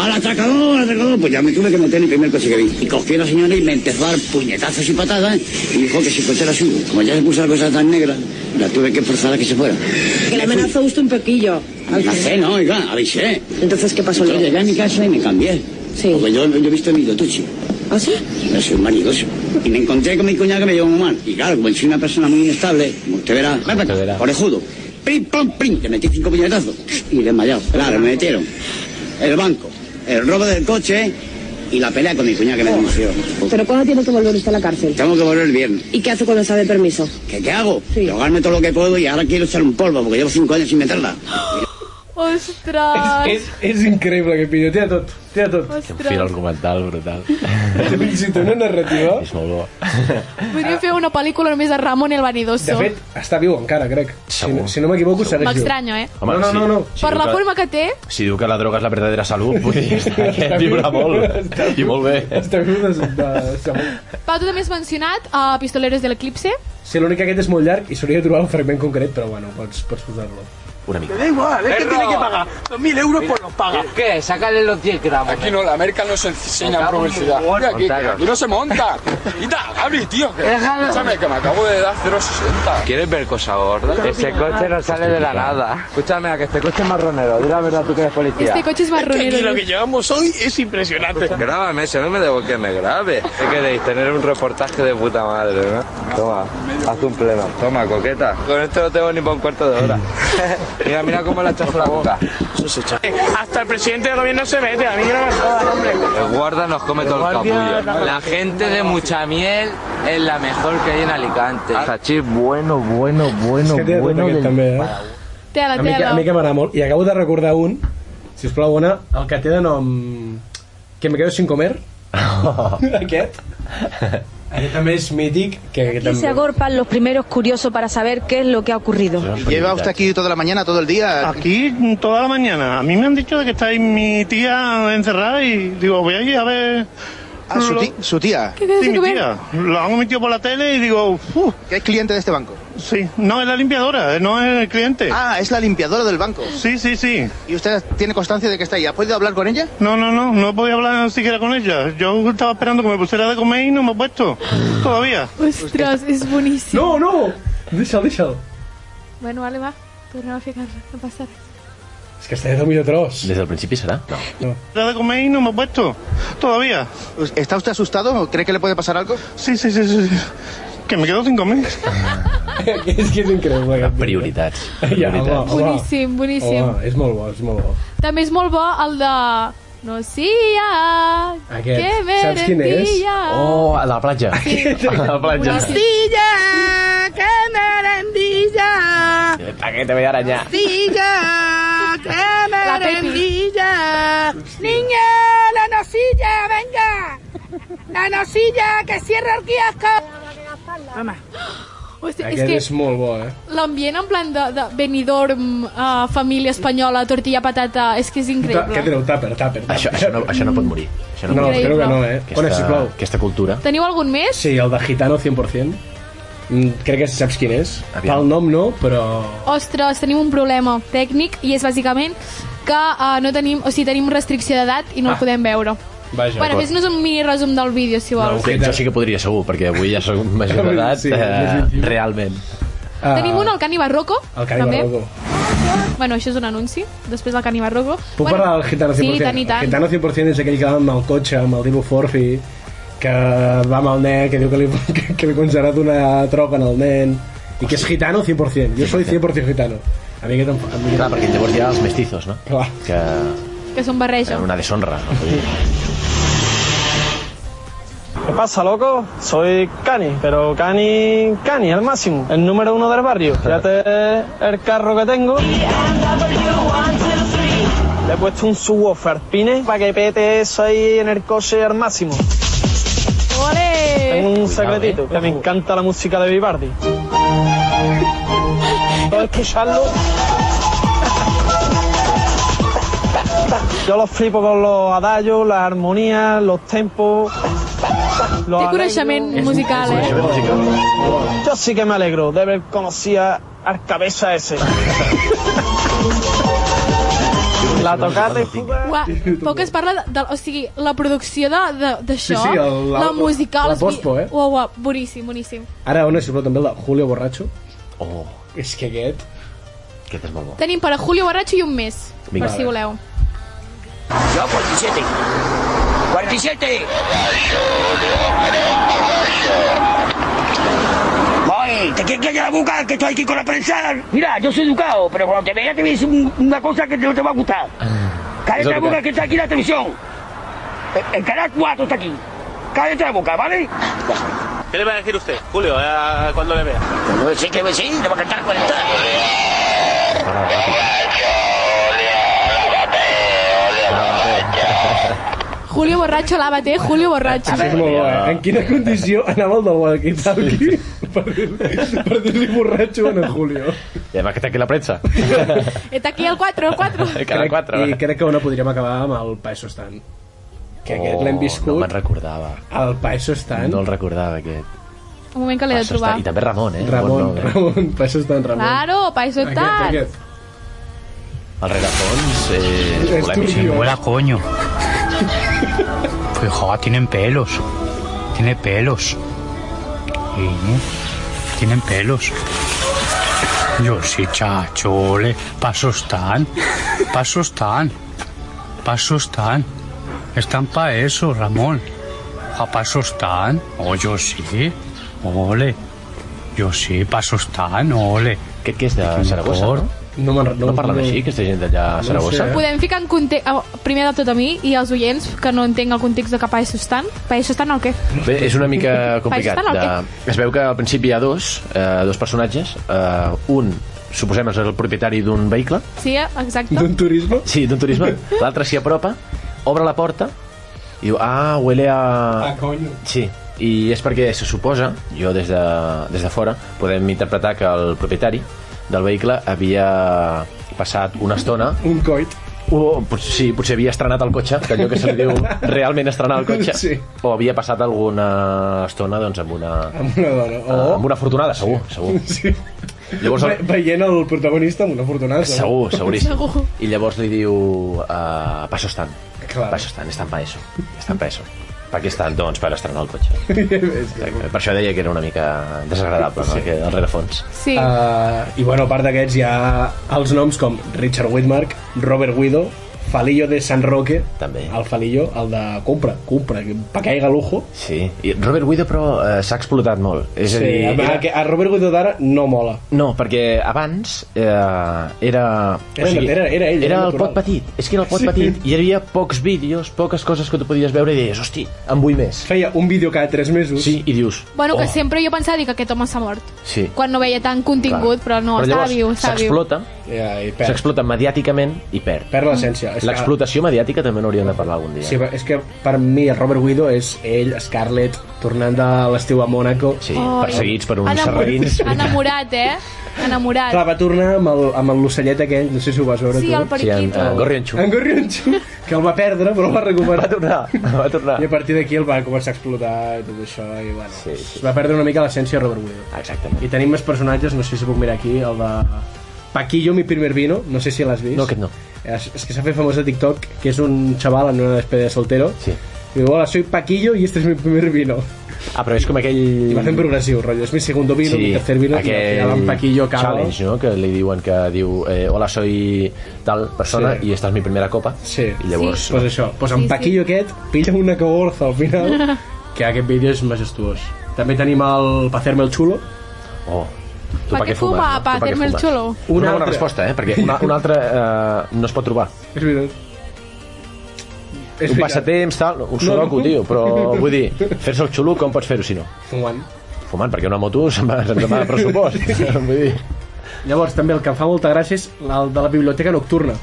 Speaker 8: Al atracador, al atracador. Pues ya me tuve que meter en el primer coche que vi. Y cogí a la señora y me empezó a dar puñetazos y patadas. ¿eh? Y dijo que si coche era suyo. Como ya se puso la cosa tan negra, la tuve que forzar a que se fuera.
Speaker 7: Que le amenazó usted un poquillo. Al-
Speaker 8: No sé, no, oiga, avisé.
Speaker 7: Entonces, ¿qué pasó
Speaker 8: Entonces
Speaker 7: luego?
Speaker 8: llegué a mi casa y me cambié.
Speaker 7: Sí.
Speaker 8: Porque yo, yo he visto mi dotuchi.
Speaker 7: ¿Ah, sí?
Speaker 8: Yo soy un vanidoso. Y me encontré con mi cuñada que me llevó muy mal. Y claro, como soy una persona muy inestable, como usted verá, ven para acá,
Speaker 5: Usted verá.
Speaker 8: orejudo. Pim, pam, pim, le metí cinco puñetazos. Y desmayado. Claro, me metieron. El banco, el robo del coche y la pelea con mi cuñada que me denunció.
Speaker 7: ¿Pero cuándo tiene que volver usted a la cárcel?
Speaker 8: Tengo que volver el viernes.
Speaker 7: ¿Y qué hace cuando está de permiso?
Speaker 8: ¿Qué, qué hago?
Speaker 7: Sí.
Speaker 8: Drogarme todo lo que puedo y ahora quiero echar un polvo porque llevo cinco años sin meterla.
Speaker 3: Ostres!
Speaker 4: És, és increïble aquest vídeo, té de tot, té de tot.
Speaker 5: Un fil
Speaker 3: Ostres,
Speaker 5: argumental [LAUGHS] brutal.
Speaker 4: Té fins i tot una narrativa.
Speaker 5: és molt bo. [LAUGHS]
Speaker 3: podria fer una pel·lícula només de Ramon el Vanidoso.
Speaker 4: De fet, està viu encara, crec. Si, no-
Speaker 5: Segur.
Speaker 4: si no m'equivoco, segueix viu.
Speaker 3: M'extranyo, eh?
Speaker 4: No, no,
Speaker 5: si-
Speaker 4: no, no.
Speaker 5: si
Speaker 3: Per
Speaker 5: diu
Speaker 3: la
Speaker 5: que-
Speaker 3: forma que té,
Speaker 5: Si diu que la droga és la verdadera salut, vull dir,
Speaker 4: [LAUGHS]
Speaker 5: està,
Speaker 4: Està
Speaker 5: aquest
Speaker 4: viu.
Speaker 5: viurà molt.
Speaker 4: Està
Speaker 5: I
Speaker 4: viu.
Speaker 5: molt bé.
Speaker 4: Està viu de, de, segur.
Speaker 3: Pau, tu també has mencionat a uh, Pistoleros de l'Eclipse.
Speaker 4: Sí, l'únic que aquest és molt llarg i s'hauria de trobar un fragment concret, pero bueno, pots, pots posar-lo.
Speaker 5: Una mica.
Speaker 9: ¿Qué? Sácale los 10 gramos.
Speaker 10: Aquí no, la América no se enseña en publicidad. Mira aquí, que aquí no se monta. Quita, Gabri, tío. Que,
Speaker 9: Déjalo.
Speaker 10: escúchame, que me acabo de dar 0,60.
Speaker 9: ¿Quieres ver cosa gorda? Ese coche no sale de la nada. Escúchame, a que este coche es marronero. Di la verdad, tú que eres policía.
Speaker 3: Este coche es marronero.
Speaker 10: llevamos hoy es impresionante.
Speaker 9: Grábame, si no me debo que me grabe. ¿Qué queréis? Tener un reportaje de puta madre, ¿no? Toma, haz un pleno. Toma, coqueta. Con esto no tengo ni para un cuarto [LAUGHS] de hora. mira, mira cómo la echas la boca. Eh,
Speaker 10: Hasta el presidente del gobierno se mete, a mí no me jodas, hombre.
Speaker 9: El guarda nos come todo el capullo. La gente de mucha miel es la mejor que hay en Alicante. Sachis bueno, bueno, bueno,
Speaker 4: que té de tot aquest, també, eh?
Speaker 3: Tela,
Speaker 4: A mi, que-
Speaker 3: tela.
Speaker 4: a mi que m'agrada molt. I acabo de recordar un, si us plau, Bona, el que té de nom... Que me quedo sin [LAUGHS] comer. aquest. Aquest també és mític. Que, que també...
Speaker 7: agorpan los primeros curiosos para saber qué es lo que ha ocurrido.
Speaker 5: Lleva usted aquí...
Speaker 11: Aquí toda la mañana. A mí me han dicho que estáis mi tía encerrada y digo, voy allí a ver. Ah, su, tía.
Speaker 3: ¿Qué tiene
Speaker 11: sí,
Speaker 3: que
Speaker 11: mi
Speaker 3: ver?
Speaker 11: tía. Lo han metido por la tele y digo, ¿Que es cliente de este banco? Sí, no, es la limpiadora, eh, no es el cliente. Ah, es la limpiadora del banco. Sí, sí, sí. ¿Y usted tiene constancia de que está ahí? ¿Ha podido hablar con ella? No, no, no, no he podido hablar siquiera con ella. Yo estaba esperando que me pusiera de comer y no me
Speaker 3: [GASPS]
Speaker 11: ha puesto todavía. Pues
Speaker 3: Ostres, és boníssim.
Speaker 4: No, no! Deixa'l, deixa'l.
Speaker 3: Bueno, vale, va. Tornem a ficar-la. No passa res.
Speaker 4: És que està de millor tros. [LAUGHS]
Speaker 5: Des del principi serà? No.
Speaker 11: de comer y no me ha puesto. Todavía. ¿Está usted asustado? ¿Cree que le puede pasar algo? Sí, sí, sí, sí. sí. Que me quedo sin comer.
Speaker 4: és que és increïble. Aquest.
Speaker 5: Prioritats.
Speaker 4: Ja,
Speaker 5: Prioritats.
Speaker 4: home.
Speaker 3: Boníssim, boníssim.
Speaker 4: Home, és molt bo, és
Speaker 3: [LAUGHS]
Speaker 4: molt bo.
Speaker 3: També és molt bo el de... No sia,
Speaker 4: Aquest.
Speaker 3: que me
Speaker 4: Saps quin és?
Speaker 3: rendía.
Speaker 5: Oh, a la platja. [LAUGHS] A la platja.
Speaker 3: Silla, que me rendía.
Speaker 5: Pa que te voy a arañar.
Speaker 6: Silla, que me
Speaker 3: La Pepi.
Speaker 6: rendilla. Niña, la nocilla, venga. La nocilla, que cierra el kiosco.
Speaker 3: [GASPS] Hòstia, és
Speaker 4: Aquest
Speaker 3: que
Speaker 4: és molt bo, eh?
Speaker 3: l'ambient en plan de, de Benidorm, uh, família espanyola, tortilla patata, és que és
Speaker 4: Ta- Què
Speaker 3: increïble.
Speaker 4: treu? Tàper, tàper. tàper.
Speaker 5: Això, això, no, això no pot morir. Això no,
Speaker 4: No,
Speaker 5: pot morir.
Speaker 4: espero que no, eh? Bona, sisplau.
Speaker 5: aquesta cultura.
Speaker 3: Teniu algun més?
Speaker 4: Sí, el de Gitano 100%. Mm, crec que saps quin és.
Speaker 5: Aviam.
Speaker 4: Pel nom no, però...
Speaker 3: Ostres, tenim un problema tècnic i és bàsicament que uh, no tenim, o sigui, tenim restricció d'edat i no ah. el podem veure.
Speaker 4: Vaja.
Speaker 3: Bueno, fes-nos un mini resum del vídeo, si
Speaker 5: No,
Speaker 3: vols.
Speaker 5: que, jo sí que podria, segur, perquè avui ja soc major d'edat,
Speaker 4: Sí,
Speaker 5: eh,
Speaker 4: definitiu.
Speaker 5: realment.
Speaker 4: Ah,
Speaker 3: Tenim un, el Cani Barroco.
Speaker 4: El Cani
Speaker 3: també.
Speaker 4: Barroco.
Speaker 3: Bueno, això és un anunci, després del Cani Barroco.
Speaker 4: Puc
Speaker 3: bueno,
Speaker 4: parlar del Gitano 100%?
Speaker 3: Sí, tant i tant.
Speaker 4: El Gitano 100% és aquell que va amb el cotxe, amb el Dibu Forfi, que va amb el nen, que diu que li, [LAUGHS] que, que li concedrat una troca en el nen, i que és gitano 100%. Jo soy 100% gitano. A mi aquest... em fa- A mi
Speaker 5: Clar, perquè llavors hi ha els mestizos, no?
Speaker 4: Clar.
Speaker 5: Que
Speaker 3: Que són barreja.
Speaker 5: era una deshonra. No? Vull dir,
Speaker 11: ¿Qué pasa, loco? Soy Cani, pero Cani, Cani, al máximo. El número uno del barrio. Fíjate el carro que tengo. Le he puesto un subwoofer al pine para que pete eso ahí en el coche al máximo.
Speaker 3: Ole!
Speaker 11: Tengo un secretito, que me encanta la música de Vivaldi. Yo escucharlo... Yo los flipo con los adallos, las armonías, los tempos... Los
Speaker 3: Té
Speaker 11: arreglos.
Speaker 3: coneixement musical, eh?
Speaker 5: això és música.
Speaker 11: Yo sí que me alegro de haber conocido al cabeza ese. La tocada y
Speaker 3: Ua, poc es parla de, o sigui, la producció de- de- d'això,
Speaker 4: Sí, sí, el- la-
Speaker 3: la musical,
Speaker 4: la
Speaker 3: o sigui,
Speaker 4: pospo, eh?
Speaker 3: Ua, ua, boníssim, boníssim.
Speaker 4: Ara, on és també el de Julio Borracho?
Speaker 5: Oh,
Speaker 4: És que aquest...
Speaker 5: aquest és molt bo.
Speaker 3: Tenim per a Julio Borracho i un més,
Speaker 5: Vinga,
Speaker 3: per si
Speaker 5: a veure.
Speaker 3: voleu.
Speaker 10: 47. 47. Voy, te quieres callar la boca que estoy aquí con la prensada. Mira, yo soy educado, pero cuando te vea te voy a decir un- una cosa que no te va a gustar.
Speaker 5: Eso
Speaker 10: Cállate la
Speaker 5: que-
Speaker 10: boca que está aquí la televisión. El- El canal 4 está aquí. Cállate la boca, ¿vale?
Speaker 11: ¿Qué le va a decir usted, Julio, eh, cuando le vea?
Speaker 10: No sé qué decir, te va a cantar 40.
Speaker 5: Ara, ràpid.
Speaker 3: Julio borratxo, lávate, Julio borratxo.
Speaker 4: És molt bo, eh? En quina condició anava el del walkie-talkie per dir- per dir-li borratxo en el Julio?
Speaker 5: I además que está aquí la prensa.
Speaker 3: Está aquí el 4, el 4.
Speaker 4: Crec-
Speaker 5: quatre. eh?
Speaker 4: I crec que una podríem acabar amb el Paeso Stan. Que aquest
Speaker 5: Oh,
Speaker 4: l'hem viscut...
Speaker 5: No me'n recordava.
Speaker 4: El Paeso Stan.
Speaker 5: No el recordava, aquest.
Speaker 3: Un moment que l'he de
Speaker 5: Això està...
Speaker 3: trobar.
Speaker 5: I també Ramon, eh?
Speaker 4: Ramon,
Speaker 5: no, eh?
Speaker 4: Ramon, Paeso Stan, Ramon.
Speaker 3: Claro, pa eso está.
Speaker 5: El regafons eh, és polèmic.
Speaker 12: Sí, huele a coño. Pues joder, tienen pelos. Tiene pelos. Y, tienen pelos. Yo sí, chachole. Pasos tan. Pasos tan. Pasos tan. Están para eso, Ramón. A pasos tan. Oh, yo sí. Ole. Yo sí, pasos tan. Ole.
Speaker 5: ¿Qué, qué es de Saragossa, no?
Speaker 4: No, me'n-
Speaker 5: No parlen
Speaker 4: no-
Speaker 5: així, aquesta gent d'allà a Saragossa?
Speaker 3: Podem ficar en context, primer de tot a mi i als oients, que no entenc el context de cap a eso estan. Pa eso estan o què?
Speaker 5: Bé, és una mica complicat.
Speaker 3: Faig tan
Speaker 5: De...
Speaker 3: al
Speaker 5: Es veu que al principi hi ha dos, eh, dos personatges. Eh, un, suposem, és el propietari d'un vehicle.
Speaker 3: Sí, eh? exacte.
Speaker 4: [LAUGHS] turisme?
Speaker 5: Sí, d'un
Speaker 4: [LAUGHS]
Speaker 5: turisme. L'altre s'hi apropa, obre la porta i diu, ah, huele a...
Speaker 4: Ah, coño.
Speaker 5: Sí, i és perquè se suposa, jo des de, des de fora, podem interpretar que el propietari del vehicle havia passat una estona...
Speaker 4: Un coit.
Speaker 5: O, pot- sí, potser havia estrenat el cotxe, que allò que se li
Speaker 4: [LAUGHS]
Speaker 5: diu realment estrenar el cotxe,
Speaker 4: Sí.
Speaker 5: o havia passat alguna estona doncs, amb una...
Speaker 4: Amb una dona. O...
Speaker 5: Ah, Amb una afortunada, segur, segur.
Speaker 4: Oh. [LAUGHS] Sí.
Speaker 5: Llavors,
Speaker 4: Ve, veient el protagonista amb una fortuna.
Speaker 5: Segur, seguríssim.
Speaker 4: Segur.
Speaker 5: I llavors li diu... Uh, passo estan.
Speaker 4: Clar.
Speaker 5: Passo estan, estan pa eso. Estan pa eso. Per què estan? Doncs per estrenar
Speaker 4: [LAUGHS]
Speaker 5: el cotxe. Exacte. Per això deia que era una mica desagradable, no?
Speaker 4: Sí.
Speaker 5: Sí. El rerefons.
Speaker 3: Sí.
Speaker 4: Uh, I bueno, a part d'aquests hi ha els noms com Richard Whitmark, Robert Guido, Falillo de San Roque,
Speaker 5: També.
Speaker 4: el Falillo, el de compra, compra, que pa que haiga lujo.
Speaker 5: Sí. I Robert Guido, però, eh, s'ha explotat molt. És a
Speaker 4: sí,
Speaker 5: dir,
Speaker 4: a, a, que a Robert Guido d'ara no mola.
Speaker 5: No, perquè abans eh, era... Era,
Speaker 4: era- era ell,
Speaker 5: Era
Speaker 4: era
Speaker 5: el
Speaker 4: natural.
Speaker 5: pot petit. És que era el pot
Speaker 4: Sí.
Speaker 5: sí. petit. I hi havia pocs vídeos, poques coses que tu podies veure i deies, hosti, en vull més.
Speaker 4: Feia un vídeo cada 3 mesos.
Speaker 5: Sí, i dius...
Speaker 3: Bueno, que
Speaker 5: oh,
Speaker 3: sempre jo pensava dir que aquest home s'ha mort.
Speaker 5: Sí.
Speaker 3: Quan no veia tant
Speaker 5: Clar.
Speaker 3: contingut, però no,
Speaker 5: però
Speaker 3: estava
Speaker 5: llavors
Speaker 3: viu, estava viu.
Speaker 5: S'explota, s'explota mediàticament i perd.
Speaker 4: Perd l'essència. És que-
Speaker 5: L'explotació mediàtica també n'hauríem de parlar algun dia.
Speaker 4: Sí, és que per mi el Robert Guido és ell, Scarlett, tornant de l'estiu a Mònaco.
Speaker 5: Sí,
Speaker 3: Ai. perseguits per uns Enamor- serradins. Enamorat, eh? Enamorat.
Speaker 4: Clar, va tornar amb el- amb el l'ocellet aquell, no sé si ho vas veure
Speaker 3: Sí,
Speaker 4: tu.
Speaker 3: el periquito. Sí, en- en
Speaker 4: [LAUGHS]
Speaker 5: Gorrionxu.
Speaker 4: En Gorrionxu, que el va perdre, però el va recuperar. Va
Speaker 5: tornar, va tornar.
Speaker 4: I a partir d'aquí el va començar a explotar i tot això, i bueno, sí, sí. va perdre una mica l'essència de Robert Guido.
Speaker 5: Exactament.
Speaker 4: I tenim més personatges, no sé si puc mirar aquí, el de... Paquillo, mi primer vino, no sé si l'has vist.
Speaker 5: No, aquest no.
Speaker 4: És, és que s'ha fet famós a TikTok, que és un xaval en una despedida de soltero.
Speaker 5: Sí.
Speaker 4: I diu, hola, soy Paquillo y este es mi primer vino.
Speaker 5: Ah, però és com aquell...
Speaker 4: I va fent progressiu, rotllo, és mi segundo vino, mi tercer vino, i al final en Paquillo acaba...
Speaker 5: challenge, no? Que li diuen que diu, eh, hola, soy tal persona
Speaker 4: Sí.
Speaker 5: i esta és mi primera copa.
Speaker 4: Sí.
Speaker 5: I llavors...
Speaker 4: Pues això, pues en Paquillo aquest pilla una cagorza al final,
Speaker 13: [LAUGHS]
Speaker 4: que aquest vídeo és majestuós. També tenim el Pa hacerme el chulo.
Speaker 5: Oh, tu
Speaker 3: Pa
Speaker 5: pa
Speaker 3: què
Speaker 5: què fumes?
Speaker 3: fuma?
Speaker 5: no? Tu
Speaker 3: Pa
Speaker 5: què
Speaker 3: hacerme el
Speaker 5: fumes?
Speaker 3: chulo?
Speaker 5: Una,
Speaker 4: Una
Speaker 5: bona
Speaker 4: altra.
Speaker 5: resposta, eh? Perquè una, una altra eh, no es pot trobar.
Speaker 4: [LAUGHS] És veritat. És
Speaker 5: un
Speaker 4: veritat.
Speaker 5: passatemps, tal, un
Speaker 4: No,
Speaker 5: sudoku,
Speaker 4: no.
Speaker 5: tio,
Speaker 4: [LAUGHS]
Speaker 5: però vull dir, fer-se el xulo, com pots fer-ho si no?
Speaker 4: Fumant.
Speaker 5: Fumant, perquè una moto se'n va, se'n va de pressupost. vull dir...
Speaker 4: Llavors, també el que em fa molta gràcia és el de la biblioteca nocturna.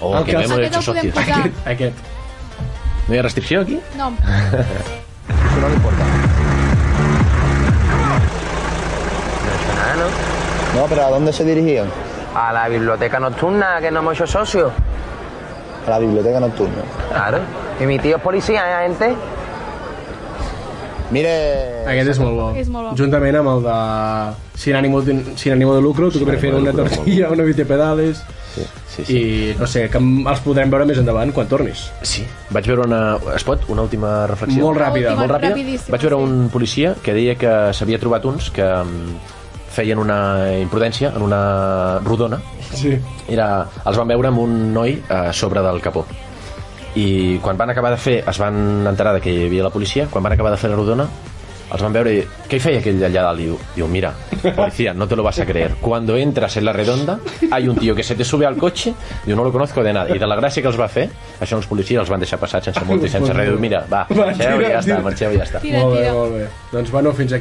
Speaker 5: Oh,
Speaker 4: El
Speaker 5: que
Speaker 4: que-
Speaker 5: no hemos
Speaker 4: Aquest
Speaker 5: hecho
Speaker 4: el podem
Speaker 5: socios.
Speaker 4: posar. Aquest, aquest.
Speaker 5: No hi ha restricció aquí?
Speaker 3: No.
Speaker 5: Eso no importa.
Speaker 14: No, pero ¿a dónde se dirigían?
Speaker 13: A la biblioteca nocturna, que no hemos hecho socios.
Speaker 14: A la biblioteca nocturna.
Speaker 13: Claro. Y mi tío es policía, ¿eh, gente?
Speaker 14: Mire...
Speaker 4: Aquest és molt bo.
Speaker 13: És molt bo.
Speaker 4: Juntament amb el de... Sin ánimo de, sin ánimo de lucro, tu que prefieres una tortilla, una bici de pedales...
Speaker 5: Sí, sí,
Speaker 4: sí. I, no sé, que els podrem veure més endavant quan tornis.
Speaker 5: Sí. Vaig veure una... Es pot? Una última reflexió?
Speaker 4: Molt ràpida. Última,
Speaker 5: Molt ràpida.
Speaker 4: rapidíssima,
Speaker 5: Vaig veure un policia que deia que s'havia trobat uns que mm, feien una imprudència en una rodona.
Speaker 4: Sí.
Speaker 5: Era, els van veure amb un noi eh, a sobre del capó. I quan van acabar de fer, es van enterar de que hi havia la policia, quan van acabar de fer la rodona, els van veure i... Què hi feia aquell allà dalt? Diu, diu, mira, policía, no te lo vas a creer. Cuando entras en la redonda, hay un tío que se te sube al coche, diu, no lo conozco de nada. I de la gràcia que els va fer, això els policies els van deixar passar sense multa i sense res. Diu, mira, va,
Speaker 4: Va,
Speaker 5: marxeu i
Speaker 4: tira,
Speaker 5: ja està,
Speaker 4: tira.
Speaker 5: marxeu i ja està.
Speaker 4: molt bé, molt bé. Doncs bueno, fins aquí